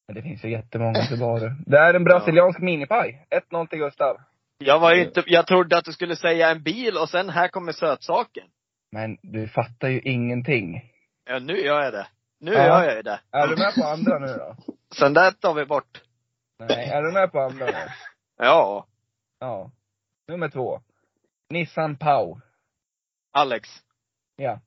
C: Men det finns ju jättemånga Subaru. Det är en brasiliansk minipaj. 1-0 till Gustav.
B: Jag var ju inte, jag trodde att du skulle säga en bil och sen här kommer sötsaken.
C: Men du fattar ju ingenting.
B: Ja, nu gör jag det. Nu
C: Ja.
B: gör jag ju det.
C: Är du med på andra nu då?
B: Sen där tar vi bort.
C: Nej, är du med på andra nu?
B: Ja.
C: Ja. Nummer två. Nissan Pau.
B: Alex.
C: Ja.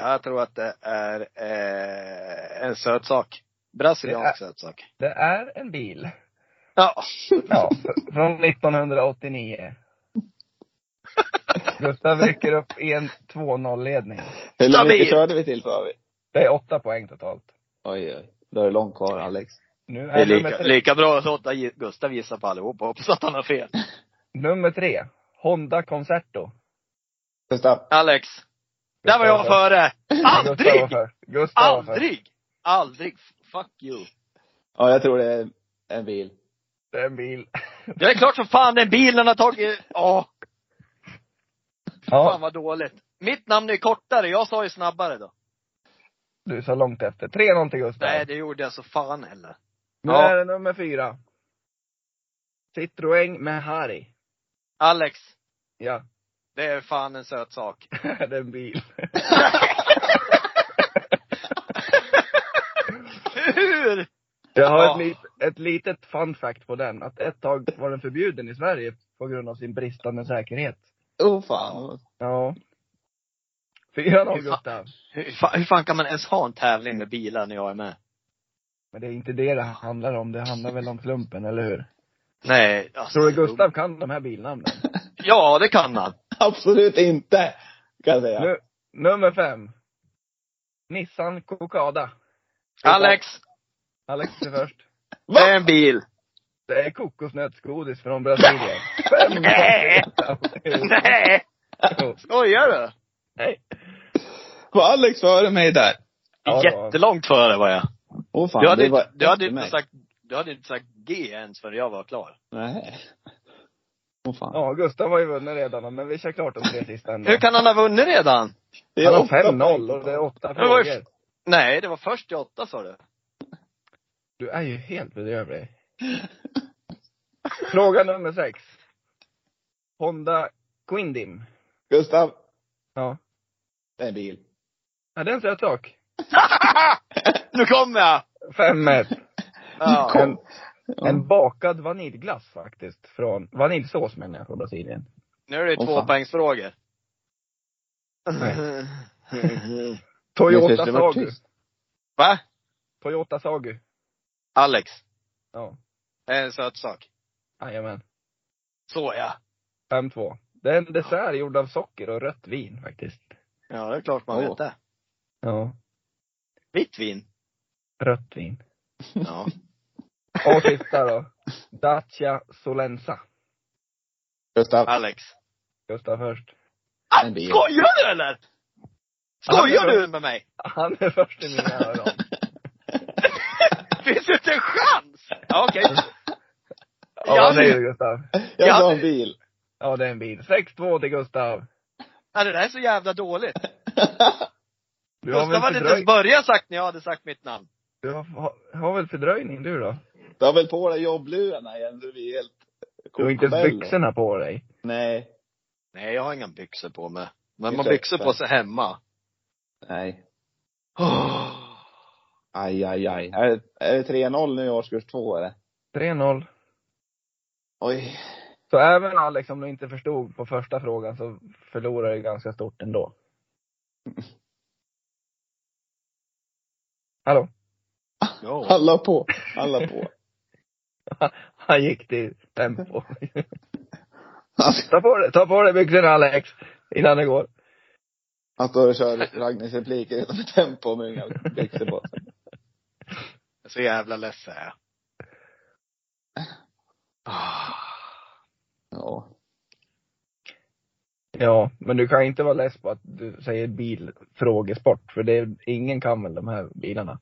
B: Jag tror att det är eh, en sötsak. Brasiliansk sötsak.
C: Det är en bil.
B: Ja.
C: Ja, f- från 1989. Gustav rycker upp i en 2-0-ledning.
D: Hur
B: Ta
D: länge
B: bil!
D: körde vi till sa vi?
C: Det är åtta poäng totalt.
D: Oj, oj. Då är det långt kvar Alex.
C: Nu
B: Det är
C: är nummer
B: lika,
C: tre.
B: lika bra att låta Gi- Gustav gissa på allihopa. Hoppas att han har fel.
C: Nummer tre. Honda Concerto.
D: Gustav.
B: Alex. Där var jag före.
C: Gustav var
B: Aldrig!
C: för. Gustav var för.
B: Aldrig! Aldrig! Fuck you.
D: Ja, jag tror det är en bil.
C: Det är en bil.
B: Det är klart som fan den bilen har tagit, ja. Fan
C: Ja,
B: vad dåligt. Mitt namn är kortare, jag sa ju snabbare då.
C: du sa långt efter. 3-0 till Gustav.
B: Nej, det gjorde jag så fan heller.
C: Nu
B: ja.
C: är det nummer fyra. Citroën med Harry.
B: Alex,
C: Ja.
B: Det är fan en söt sak.
C: det är en bil.
B: Hur?
C: Jag har
B: Ja.
C: ett, lit, ett litet fun fact på den. Att ett tag var den förbjuden i Sverige på grund av sin bristande säkerhet.
D: Oh fan.
C: Ja. Fyra noll Gustav.
B: Hur fan, hur fan kan man ens ha en tävling med bilar när jag är med?
C: Men det är inte det det handlar om. Det handlar väl om slumpen, eller hur?
B: Nej, alltså,
C: Tror du Gustav kan de här bilnamnen?
B: Ja, det kan han.
D: Absolut inte! Kan jag säga.
C: Nu, nummer fem. Nissan Kokada.
B: Alex,
C: Alex är först.
B: det är en bil.
C: Det är kokosnötsgodis från Brasilien. Fem
B: Nej.
C: noll.
B: Nej!
C: Jo.
B: Skojar du?
D: Var Alex före mig där?
C: Ja, det var-
B: Jättelångt före var jag.
D: Åh fan,
B: du hade,
D: det var
B: inte, du, hade
D: efter
B: inte
D: mig.
B: sagt, du hade inte sagt G ens förrän jag var klar.
D: Nej. Åh fan.
C: Ja, Gustav har ju vunnit redan, men vi kör klart de tre sista ändå.
B: Hur kan han ha vunnit redan?
D: Det
C: Han har
D: åtta
C: 5-0
D: poäng.
C: och det är åtta
B: Det var ju-
C: frågor.
B: Nej, det var först i åtta sa du.
C: Du är ju helt bedrövlig. Fråga nummer sex. Honda Quindim.
D: Gustav,
C: Ja.
D: det är en bil.
C: Ja, det är en söt sak.
B: nu kommer jag!
C: 5-1.
B: Ja.
C: En, en bakad vaniljglass faktiskt. Från, vaniljsås menar jag, från Brasilien.
B: Nu är det
D: Åh,
B: två
D: fan.
B: poängsfrågor.
D: Men
C: Toyota
D: först det var
C: Sagu.
D: tyst.
B: Va?
C: Toyota Sagu.
B: Alex,
C: Ja.
B: det är en söt sak.
C: Jajamän.
B: Så ja.
C: 5-2. Det är en dessert gjord av socker och rött vin faktiskt.
B: Ja, det är klart man
D: Åh.
B: vet det.
C: Ja.
B: Vitt vin.
C: Rött vin.
B: Ja.
C: Och sista då. Dacia Solensa.
D: Gustav,
B: Alex.
C: Gustav först.
B: Ah,
D: En bil.
B: skojar du eller? Skojar
C: Ja, det är-
B: du med mig?
C: Han är först i mina öron.
B: Finns det inte en chans? Ja, okej.
C: Ja,
B: Ja,
C: vad säger
B: men-
C: du Gustav?
D: jag
B: Ja.
D: sa en bil.
C: Ja, det är en bil. 6-2 till Gustav.
B: Ja, det där är så jävla dåligt.
C: Du har,
B: Gustav
C: väl
B: hade inte ens
C: fördröj...
B: börjat sagt när jag hade sagt mitt namn.
C: du har, har, har väl fördröjning du då?
D: Du har väl på dig jobbluarna igen, du är helt
C: Du har inte ens
D: kokfälla.
C: byxorna på dig.
D: Nej.
B: Nej, jag har inga byxor på mig. Men man
D: Ursäkta.
B: har byxor på sig hemma.
D: Nej.
B: Åh.
D: Aj, aj, aj. Är det, är det 3-0 nu i årskurs två eller?
C: 3-0.
D: Oj.
C: Så även Alex, om du inte förstod på första frågan så förlorar du ganska stort ändå. Hallå?
B: Ja.
D: Alla på. Alla på.
C: Han gick till tempo. ta, på dig, ta på dig byxorna Alex, innan det går.
D: Han står och kör Ragnhilds repliker utanför tempo med inga byxor på sig.
B: Så jävla less är jag. Ah.
D: Ja.
C: Ja, men du kan inte vara less på att du säger bilfrågesport, för det är, ingen kan väl de här bilarna.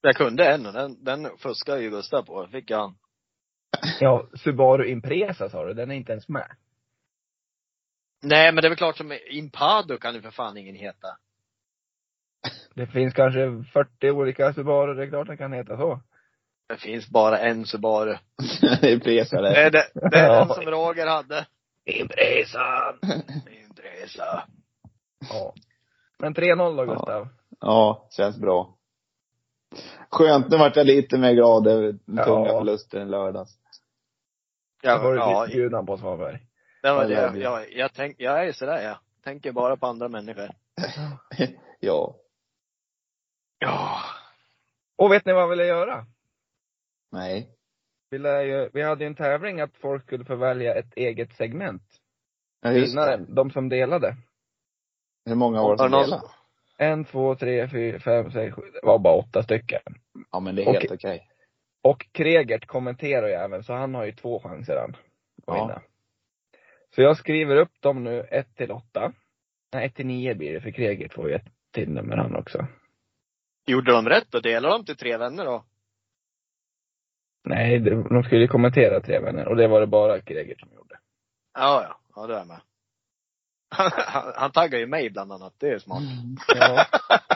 B: Jag kunde en och den, den fuskade ju Gustav på. Fick jag han.
C: Ja, Subaru Impresa sa du, den är inte ens med.
B: Nej, men det är väl klart som Impado kan ju för fan ingen heta.
C: Det finns kanske 40 olika Subaru, det är klart den kan heta så.
B: Det finns bara en Subaru.
D: Det är presare.
B: Det är, det, det är
C: Ja.
B: den som Roger hade.
C: Impresa!
B: Intressant.
C: Ja. Men 3-0 då Gustav.
D: Ja, känns bra. Skönt, nu vart jag lite mer glad över den
C: Ja.
D: tunga förlusten i lördags.
C: Ja, var
B: Ja,
C: du
B: ja,
C: bjuden på Svanberg.
B: det var
D: I
B: det.
D: love you.
B: Jag, jag, tänk, jag är ju sådär jag. Tänker bara på andra människor.
D: Ja.
B: Ja.
C: Och vet ni vad jag ville göra?
D: Nej.
C: Vi, lär ju, vi hade ju en tävling att folk skulle få välja ett eget segment.
D: Ja, just det.
C: Vinnaren, de som delade.
D: Hur många år
B: Har
D: som
B: någon-
D: delar?
C: En, två, tre, fyra, fem, sex, sju. Det var bara åtta stycken.
D: Ja, men det är helt
C: Okej.
D: okej.
C: Och Kregert kommenterar ju även, så han har ju två chanser han att
D: Ja.
C: vinna. Så jag skriver upp dem nu, ett till åtta. Nej, ett till nio blir det, för Kregert får ju ett till nummer han också.
B: Gjorde de rätt då? Delade de till tre vänner då?
C: Nej, det- de skulle ju kommentera tre vänner och det var det bara Kregert som gjorde.
B: Ja, ja. Ja, det är jag med. Han, han taggar ju mig bland annat. Det är ju smart.
C: Ja.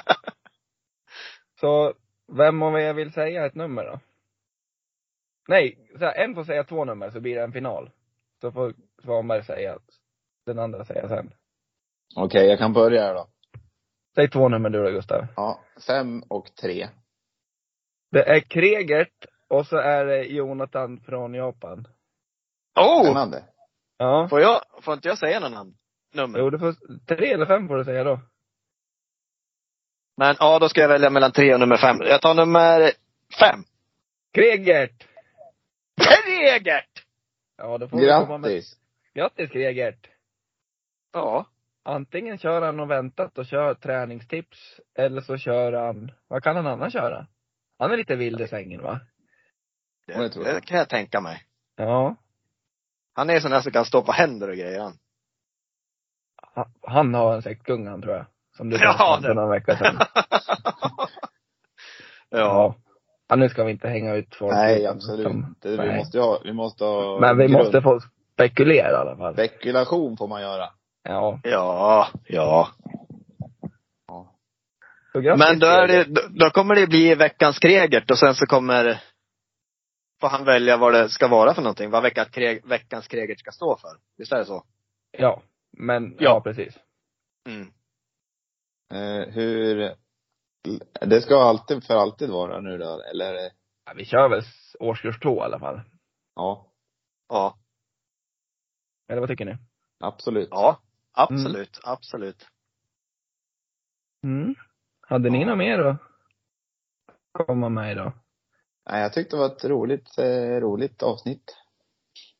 C: så vem av er vill säga ett nummer då? Nej, så här, en får säga två nummer så blir det en final. Så får Svanberg säga Den andra säger jag sen.
D: Okej, jag kan börja här då.
C: Säg två nummer du då Gustav.
D: Ja, fem och tre.
C: Det är Kregert och så är det Jonathan från Japan.
B: Oh!
D: Spännande.
C: Ja.
B: Får jag, får inte jag säga någon namn? Nummer?
C: Jo, du får, tre eller fem får du säga då.
B: Men ja, då ska jag välja mellan tre och nummer fem. Jag tar nummer fem.
C: Kregert!
B: Kregert!
C: Ja, då får du komma med.
D: Grattis!
C: Grattis Kregert!
B: Ja.
C: Antingen kör han och väntat och kör träningstips, eller så kör han, vad kan han annars köra? Han är lite vild i sängen va?
B: Det,
D: Ja, det tror jag.
B: det kan jag tänka mig.
C: Ja.
B: Han är sån där som kan stå på händer och grejer han.
C: Han, han har en sektkung han tror jag. Som du
B: Ja,
C: pratade om
B: det.
C: för någon vecka sedan.
B: ja.
C: Ja, nu ska vi inte hänga ut folk.
D: Nej,
C: utan-
D: absolut
C: som-
D: inte. Vi
C: nej.
D: måste ju ha, vi måste ha
C: Men vi
D: grund.
C: måste få spekulera i alla fall.
D: Spekulation får man göra.
C: Ja.
B: Ja, ja.
C: Så grattis,
B: Men då, är det,
C: Kregert.
B: då- då kommer det bli veckans Kregert och sen så kommer får han välja vad det ska vara för någonting. Vad vecka, kreg, veckans Kregert ska stå för. Visst är det så?
C: Ja. Men, ja,
B: Ja.
C: precis.
B: Mm.
D: Eh, hur, det ska alltid, för alltid vara nu då, eller? är det-
C: Ja, vi kör väl s- årskurs två i alla fall.
D: Ja,
B: Ja.
C: Eller vad tycker ni?
D: absolut.
B: Ja. Absolut. Absolut.
C: Mm. Hade ni något mer att komma med idag?
D: Nej, jag tyckte det var ett roligt, eh, roligt avsnitt.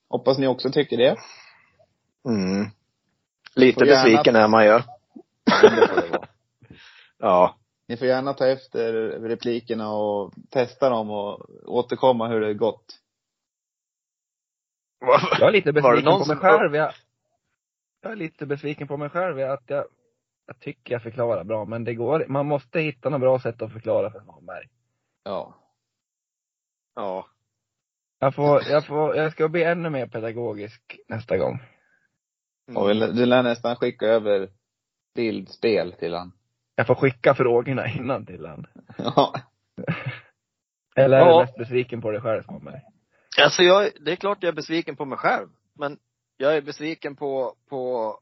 D: Hoppas ni också tycker det.
B: Mm. Lite
D: Får gärna-
B: besviken är man ju.
D: Men det får det vara.
B: Ja.
D: Ni får gärna ta efter replikerna och testa dem och återkomma hur det gått.
C: Jag är
B: Var
C: lite
B: det
C: besviken
B: någon
C: på mig
B: som-
C: själv. Jag, jag är lite besviken på mig själv. Jag, att jag, jag tycker jag förklarar bra, men det går Man måste hitta något bra sätt att förklara för Svanberg.
D: Ja.
B: Ja.
C: Jag får, jag får, jag ska bli ännu mer pedagogisk nästa gång.
D: Och vi, du lär nästan skicka över bildspel till han.
C: Jag får skicka frågorna innan till han.
D: Ja.
C: Eller är
B: Ja.
C: du mest besviken på dig själv Svanberg?
B: Alltså jag, det är klart jag är besviken på mig själv. Men jag är besviken på, på,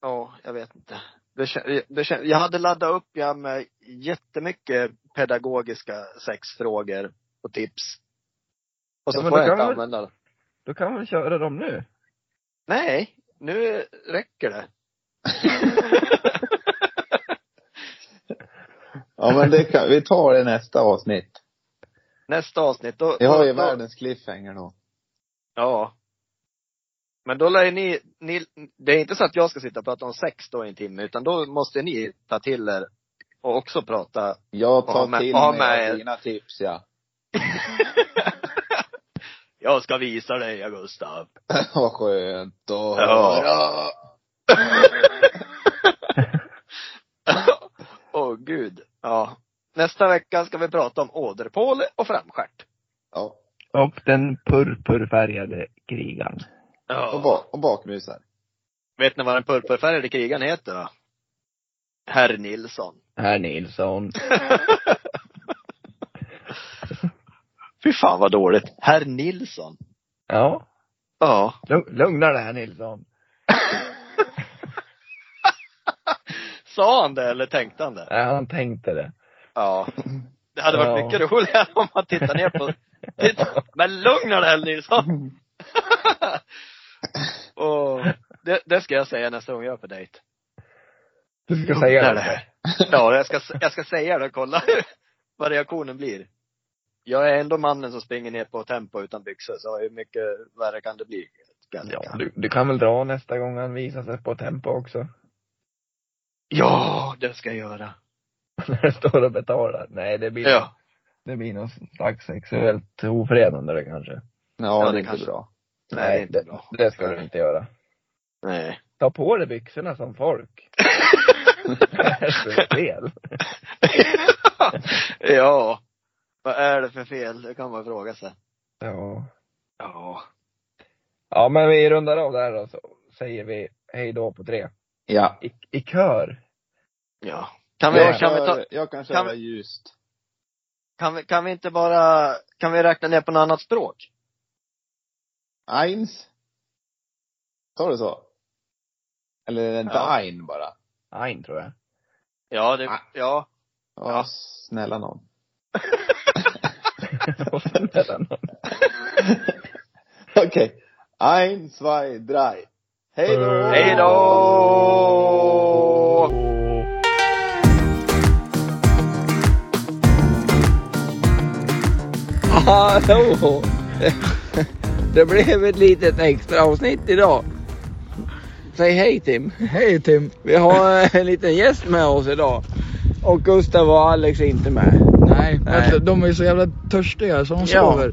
B: ja, jag vet inte. Det, kän- det, kän- jag hade laddat upp ja, med jättemycket pedagogiska sexfrågor och tips. Och så
C: Ja, men
B: får
C: då
B: jag
C: kan
B: inte
C: man-
B: använda det.
C: Då kan vi köra dem nu.
B: Nej, nu räcker det.
D: Ja men det kan, vi tar det nästa avsnitt.
B: Nästa avsnitt, då.
D: Vi har ju
B: då, då,
D: världens cliffhanger då.
B: Ja. Men då lär ju ni, ni, det är inte så att jag ska sitta och prata om sex då i en timme, utan då måste ni ta till er och också prata
D: Jag
B: Ja,
D: tar
B: men-
D: till
B: ja,
D: mig
B: men-
D: av dina tips ja.
B: Jag ska visa dig, ja, Gustav.
D: Vad skönt att
B: Ja.
D: höra.
B: Åh oh, gud. Ja. Nästa vecka ska vi prata om åderpåle och framstjärt.
D: Ja.
C: Och den purpurfärgade krigaren.
D: Och,
B: Ja.
D: ba, och bakmusar.
B: Vet ni vad den purpurfärgade krigaren heter då? Herr Nilsson.
C: Herr Nilsson.
B: Fy fan vad dåligt. Herr Nilsson.
C: Ja.
B: Ja.
C: lugn- Lugna dig herr Nilsson.
B: Sa han det eller tänkte han det?
C: Nej, han tänkte det.
B: Ja. Det hade varit
C: Ja.
B: mycket roligare om man tittar ner på Titta. Men lugna dig Nilsson! och det, det ska jag säga nästa gång jag är på dejt.
C: Du ska säga
B: Lugna
C: det.
B: dig. Ja, jag ska, jag ska säga det och kolla vad reaktionen blir. Jag är ändå mannen som springer ner på tempo utan byxor, så hur mycket värre kan det bli? Kan jag
C: Ja,
B: tänka.
C: du, du kan väl dra nästa gång han visar sig på tempo också?
B: ja, det ska jag göra.
C: När du står och betalar. Nej, det blir,
B: Ja.
C: det blir någon slags sexuellt ofredande det kanske.
D: Ja,
B: det
D: det är inte
B: kanske-
D: bra.
B: Nej, det är inte bra.
C: Det ska du inte göra.
B: Nej.
C: Ta på dig byxorna som folk. Vad är det för fel?
B: ja. Vad är det för fel? Det kan man fråga sig.
C: Ja.
B: Ja.
C: Ja, men vi rundar av där då, så säger vi hej då på tre.
D: Ja.
C: I, i kör.
B: Ja. Kan
D: Jag
B: vi,
D: kan,
B: kan vi ta,
D: köra, jag
B: kan
D: kan köra ljust.
B: Kan vi, kan vi inte bara, kan vi räkna ner på något annat språk?
D: Eins. Sa du så? Eller är det inte
B: Ja.
D: ein bara?
F: Ein tror jag.
B: Ja, det, ja.
D: Ja, snälla någon. Okej. Ein, zwei, drei. Hej då!
B: Hej då!
C: Hallå! Det blev ett litet extra avsnitt idag. Säg hej Tim.
G: Hej Tim.
C: Vi har eh, en liten gäst med oss idag. Och Gustav och Alex är inte med.
G: Nej,
C: Nej.
G: men de är så jävla törstiga så de
C: Ja.
G: sover.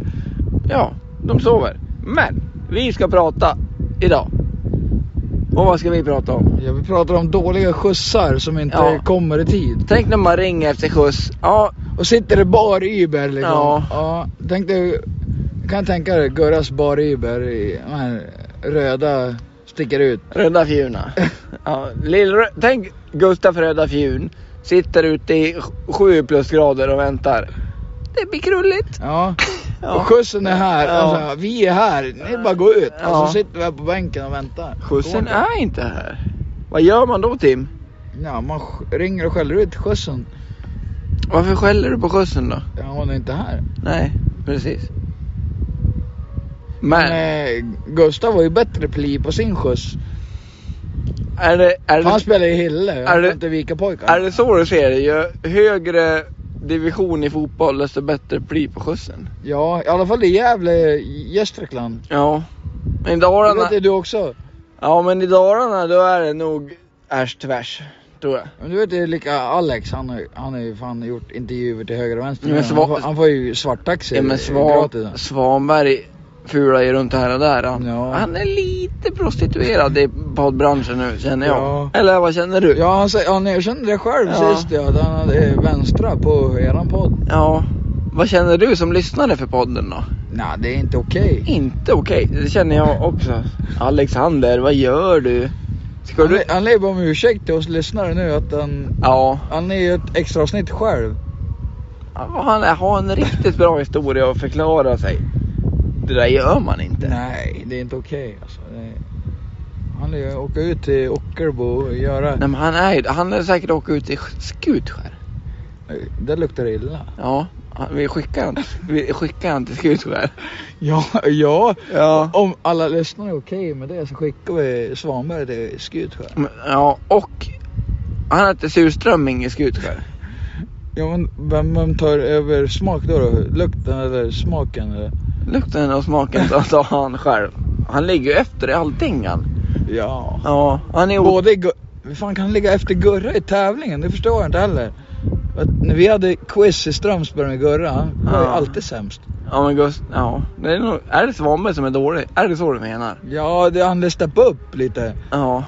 C: Ja, de sover. Men vi ska prata idag. Och vad ska vi prata om?
G: Ja, vi pratar om dåliga skjutsar som inte
C: Ja.
G: kommer i tid.
C: Tänk när man ringer efter skjuts. Ja,
G: Och sitter det bar Uber liksom.
C: Ja.
G: ja tänk dig, kan jag tänka dig Gurras bar Uber i de här röda sticker ut.
C: Röda Fjuna. Ja, Lillrö- Tänk Gustaf Röda Fjun. Sitter ute i sj- sju plusgrader och väntar. Det blir krulligt.
G: Ja.
C: Ja.
G: Och skjutsen är här.
C: Ja.
G: Alltså, vi är här. Ni bara gå ut.
C: Ja.
G: Och så sitter vi här på bänken och väntar. Går
C: Skjutsen
G: inte.
C: är inte här. Vad gör man då Tim?
G: Ja, man sk- ringer och skäller ut skjutsen.
C: Varför skäller du på skjutsen då?
G: Ja, hon är inte här.
C: Nej, precis. Men
G: Men, eh, Gustav var ju bättre pli på sin skjuts.
C: är det, är,
G: Han
C: det,
G: spelar i Hille. Han
C: är det-
G: kan inte vika pojkar.
C: är det så du ser det? Ju högre division i fotboll desto bättre blir på skjutsen.
G: Ja, i alla fall i Gävle, i Gästrikland.
C: Ja. Men i
G: Det
C: Dalarna,
G: vet ju du också.
C: ja, men i Dalarna då är det nog ärs tvärs. Tror jag.
G: Men du vet ju lika Alex, han har ju- han har ju fan gjort intervjuer till höger och vänster.
C: Ja, men
G: han,
C: Sva-
G: får, han får ju svarttaxi
C: Ja, men Svan,
G: gratis.
C: Svanberg fular ju runt här och där. Han,
G: Ja.
C: han är lite prostituerad i poddbranschen nu känner jag.
G: Ja.
C: Eller vad känner du?
G: Ja, han, säger, han erkände det själv
C: Ja.
G: sist ja, att han hade eh, vänstra på eran podd.
C: Ja. Vad känner du som lyssnare för podden då?
G: Nej, det är inte okej.
C: Inte okej, det känner jag också. Alexander, vad gör du? Ska
G: Han,
C: du?
G: le- han lever om ursäkt till oss lyssnare nu att han,
C: Ja,
G: han är ju ett extra avsnitt själv.
C: Ja, han har en riktigt bra historia att förklara sig. Det där gör man inte.
G: Nej, det är inte okej alltså. Det är... Han vill ju åka ut till Ockelbo och göra...
C: Nej men han är ju- han är säkert åkt ut i Skutskär.
G: Det luktar illa.
C: Ja, han- vi skickar han, vi skickar han till Skutskär.
G: Ja, ja.
C: Ja.
G: Om alla lyssnare är okej med det så skickar vi Svanberg till Skutskär.
C: Men, Ja, och han äter surströmming i Skutskär.
G: Ja men vem, vem tar över smak då, då? Lukten eller smaken? Eller?
C: Lukten och smaken tar- tar han själv. Han ligger ju efter i allting han.
G: Ja.
C: Ja, han är o-
G: Både Gu- Hur fan kan han ligga efter Gurra i tävlingen? Det förstår jag inte heller. Att när vi hade quiz i Strömsberg med Gurra, han var ju
C: Ja.
G: alltid sämst.
C: Ja men Gust, ja. Det är, nog, är det Svanberg som är dålig? Är det så du menar?
G: Ja, det, han lär steppa upp lite.
C: Ja.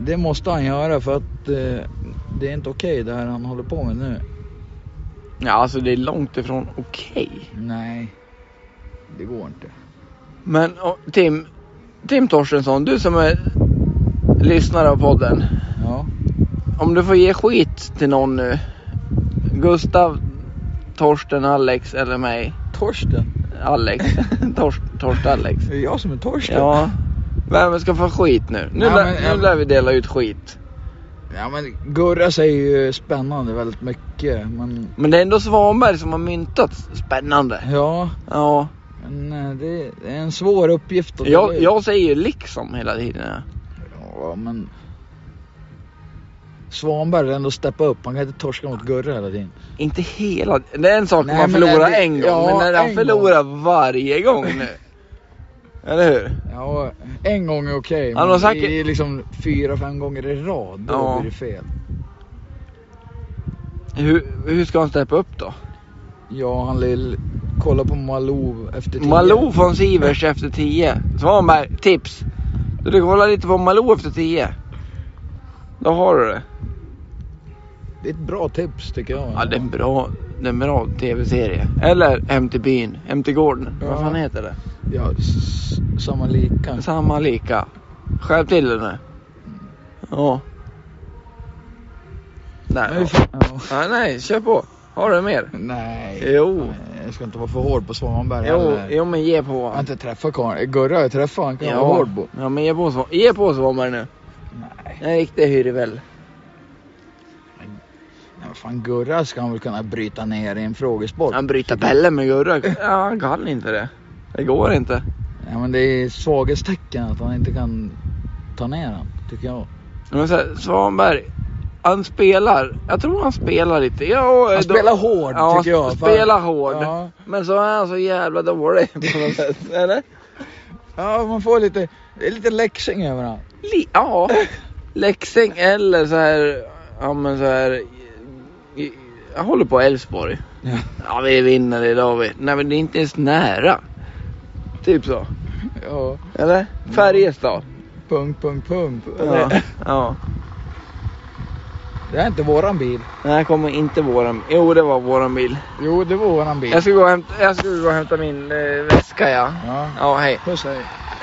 G: Det måste han göra för att eh, det är inte okej det här han håller på med nu.
C: Ja alltså det är långt ifrån okej.
G: Nej, det går inte.
C: Men och, Tim, Tim Torstensson, du som är lyssnare av podden.
G: Ja.
C: Om du får ge skit till någon nu. Gustav, Torsten, Alex eller mig.
G: Torsten.
C: Alex. Torst, Torst Alex.
G: Det är jag som är Torsten.
C: Ja. Vem ska få skit nu? Nu,
G: Ja,
C: lär-
G: men- ja,
C: nu lär vi dela ut skit.
G: ja men Gurra säger ju spännande väldigt mycket. Men
C: Men det är ändå Svanberg som har myntat spännande.
G: ja,
C: Ja.
G: men, eh, det är en svår uppgift. att ta
C: Jag,
G: ut.
C: jag säger ju liksom hela tiden. ja.
G: Ja, men... Svanberg har ändå steppa upp. Han kan inte torska mot Gurra hela tiden.
C: Inte hela. Det är en sak
G: Nej,
C: om man
G: men
C: förlorar
G: det-
C: en gång.
G: ja,
C: men när han
G: en
C: förlorar varje gång nu. Eller hur?
G: Ja, en gång är okej.
C: Han
G: men
C: har säkert-
G: Det är liksom fyra, fem gånger i rad. Då
C: Ja.
G: blir det fel.
C: Hur, hur ska han steppa upp då?
G: Ja, han lill... Kolla på Malou efter tio.
C: Malou från Sivers efter 10. Svanberg, tips. Du du kollar lite på Malou efter 10. Då har du det.
G: Det är ett bra tips tycker jag.
C: Ja, det är en bra, det är en bra tv-serie. Eller Hem till byn, Hem till gården.
G: Ja.
C: Vad fan heter det?
G: Ja, s- samma lika.
C: Samma lika. Skärp till dig nu. Ja. Nej,
G: Men vi
C: ja.
G: får- ja.
C: Nej, nej, kör på. Har du mer?
G: Nej.
C: Jo.
G: Jag ska inte vara för hård på Svanberg
C: Jo,
G: heller.
C: jo men ge på
G: Jag har
C: han.
G: inte träffat karln. Gurra har jag träffat. Han kan jag vara
C: Ja,
G: hård på.
C: ja men ge på, Svan- ge på Svanberg nu.
G: Nej.
C: En riktig hyrvel.
G: Nej, men fan Gurra ska han väl kunna bryta ner i en frågesport.
C: Han bryter Pelle med Gurra. Ja, han kan inte det. Det går inte.
G: Ja, men det är svaghetstecken att han inte kan ta ner han, tycker jag.
C: Men så här, Svanberg, han spelar. Jag tror han spelar lite. Ja, och
G: Han
C: då-
G: spelar hård
C: ja,
G: tycker jag. Fan.
C: spelar hård.
G: Ja.
C: Men så är han så jävla dålig på något sätt. Eller?
G: ja, man får lite, det är lite läxing över han.
C: Li- ja. Leksing eller så här, ja men så här. i- i- Jag håller på Elfsborg.
G: Ja.
C: Ja vi vinner idag vi. Nej men det är inte ens nära. Typ så.
G: Ja,
C: Eller? Färjestad.
G: punkt, punkt, punkt.
C: Ja. ja.
G: Det är inte våran bil.
C: Nej, här kommer inte våran. Jo det var våran bil.
G: Jo, det var våran bil. 啊
C: Jag ska gå och hämta, jag ska gå och hämta min eh, väska ja.
G: Ja.
C: Ja hej.
G: Puss hej.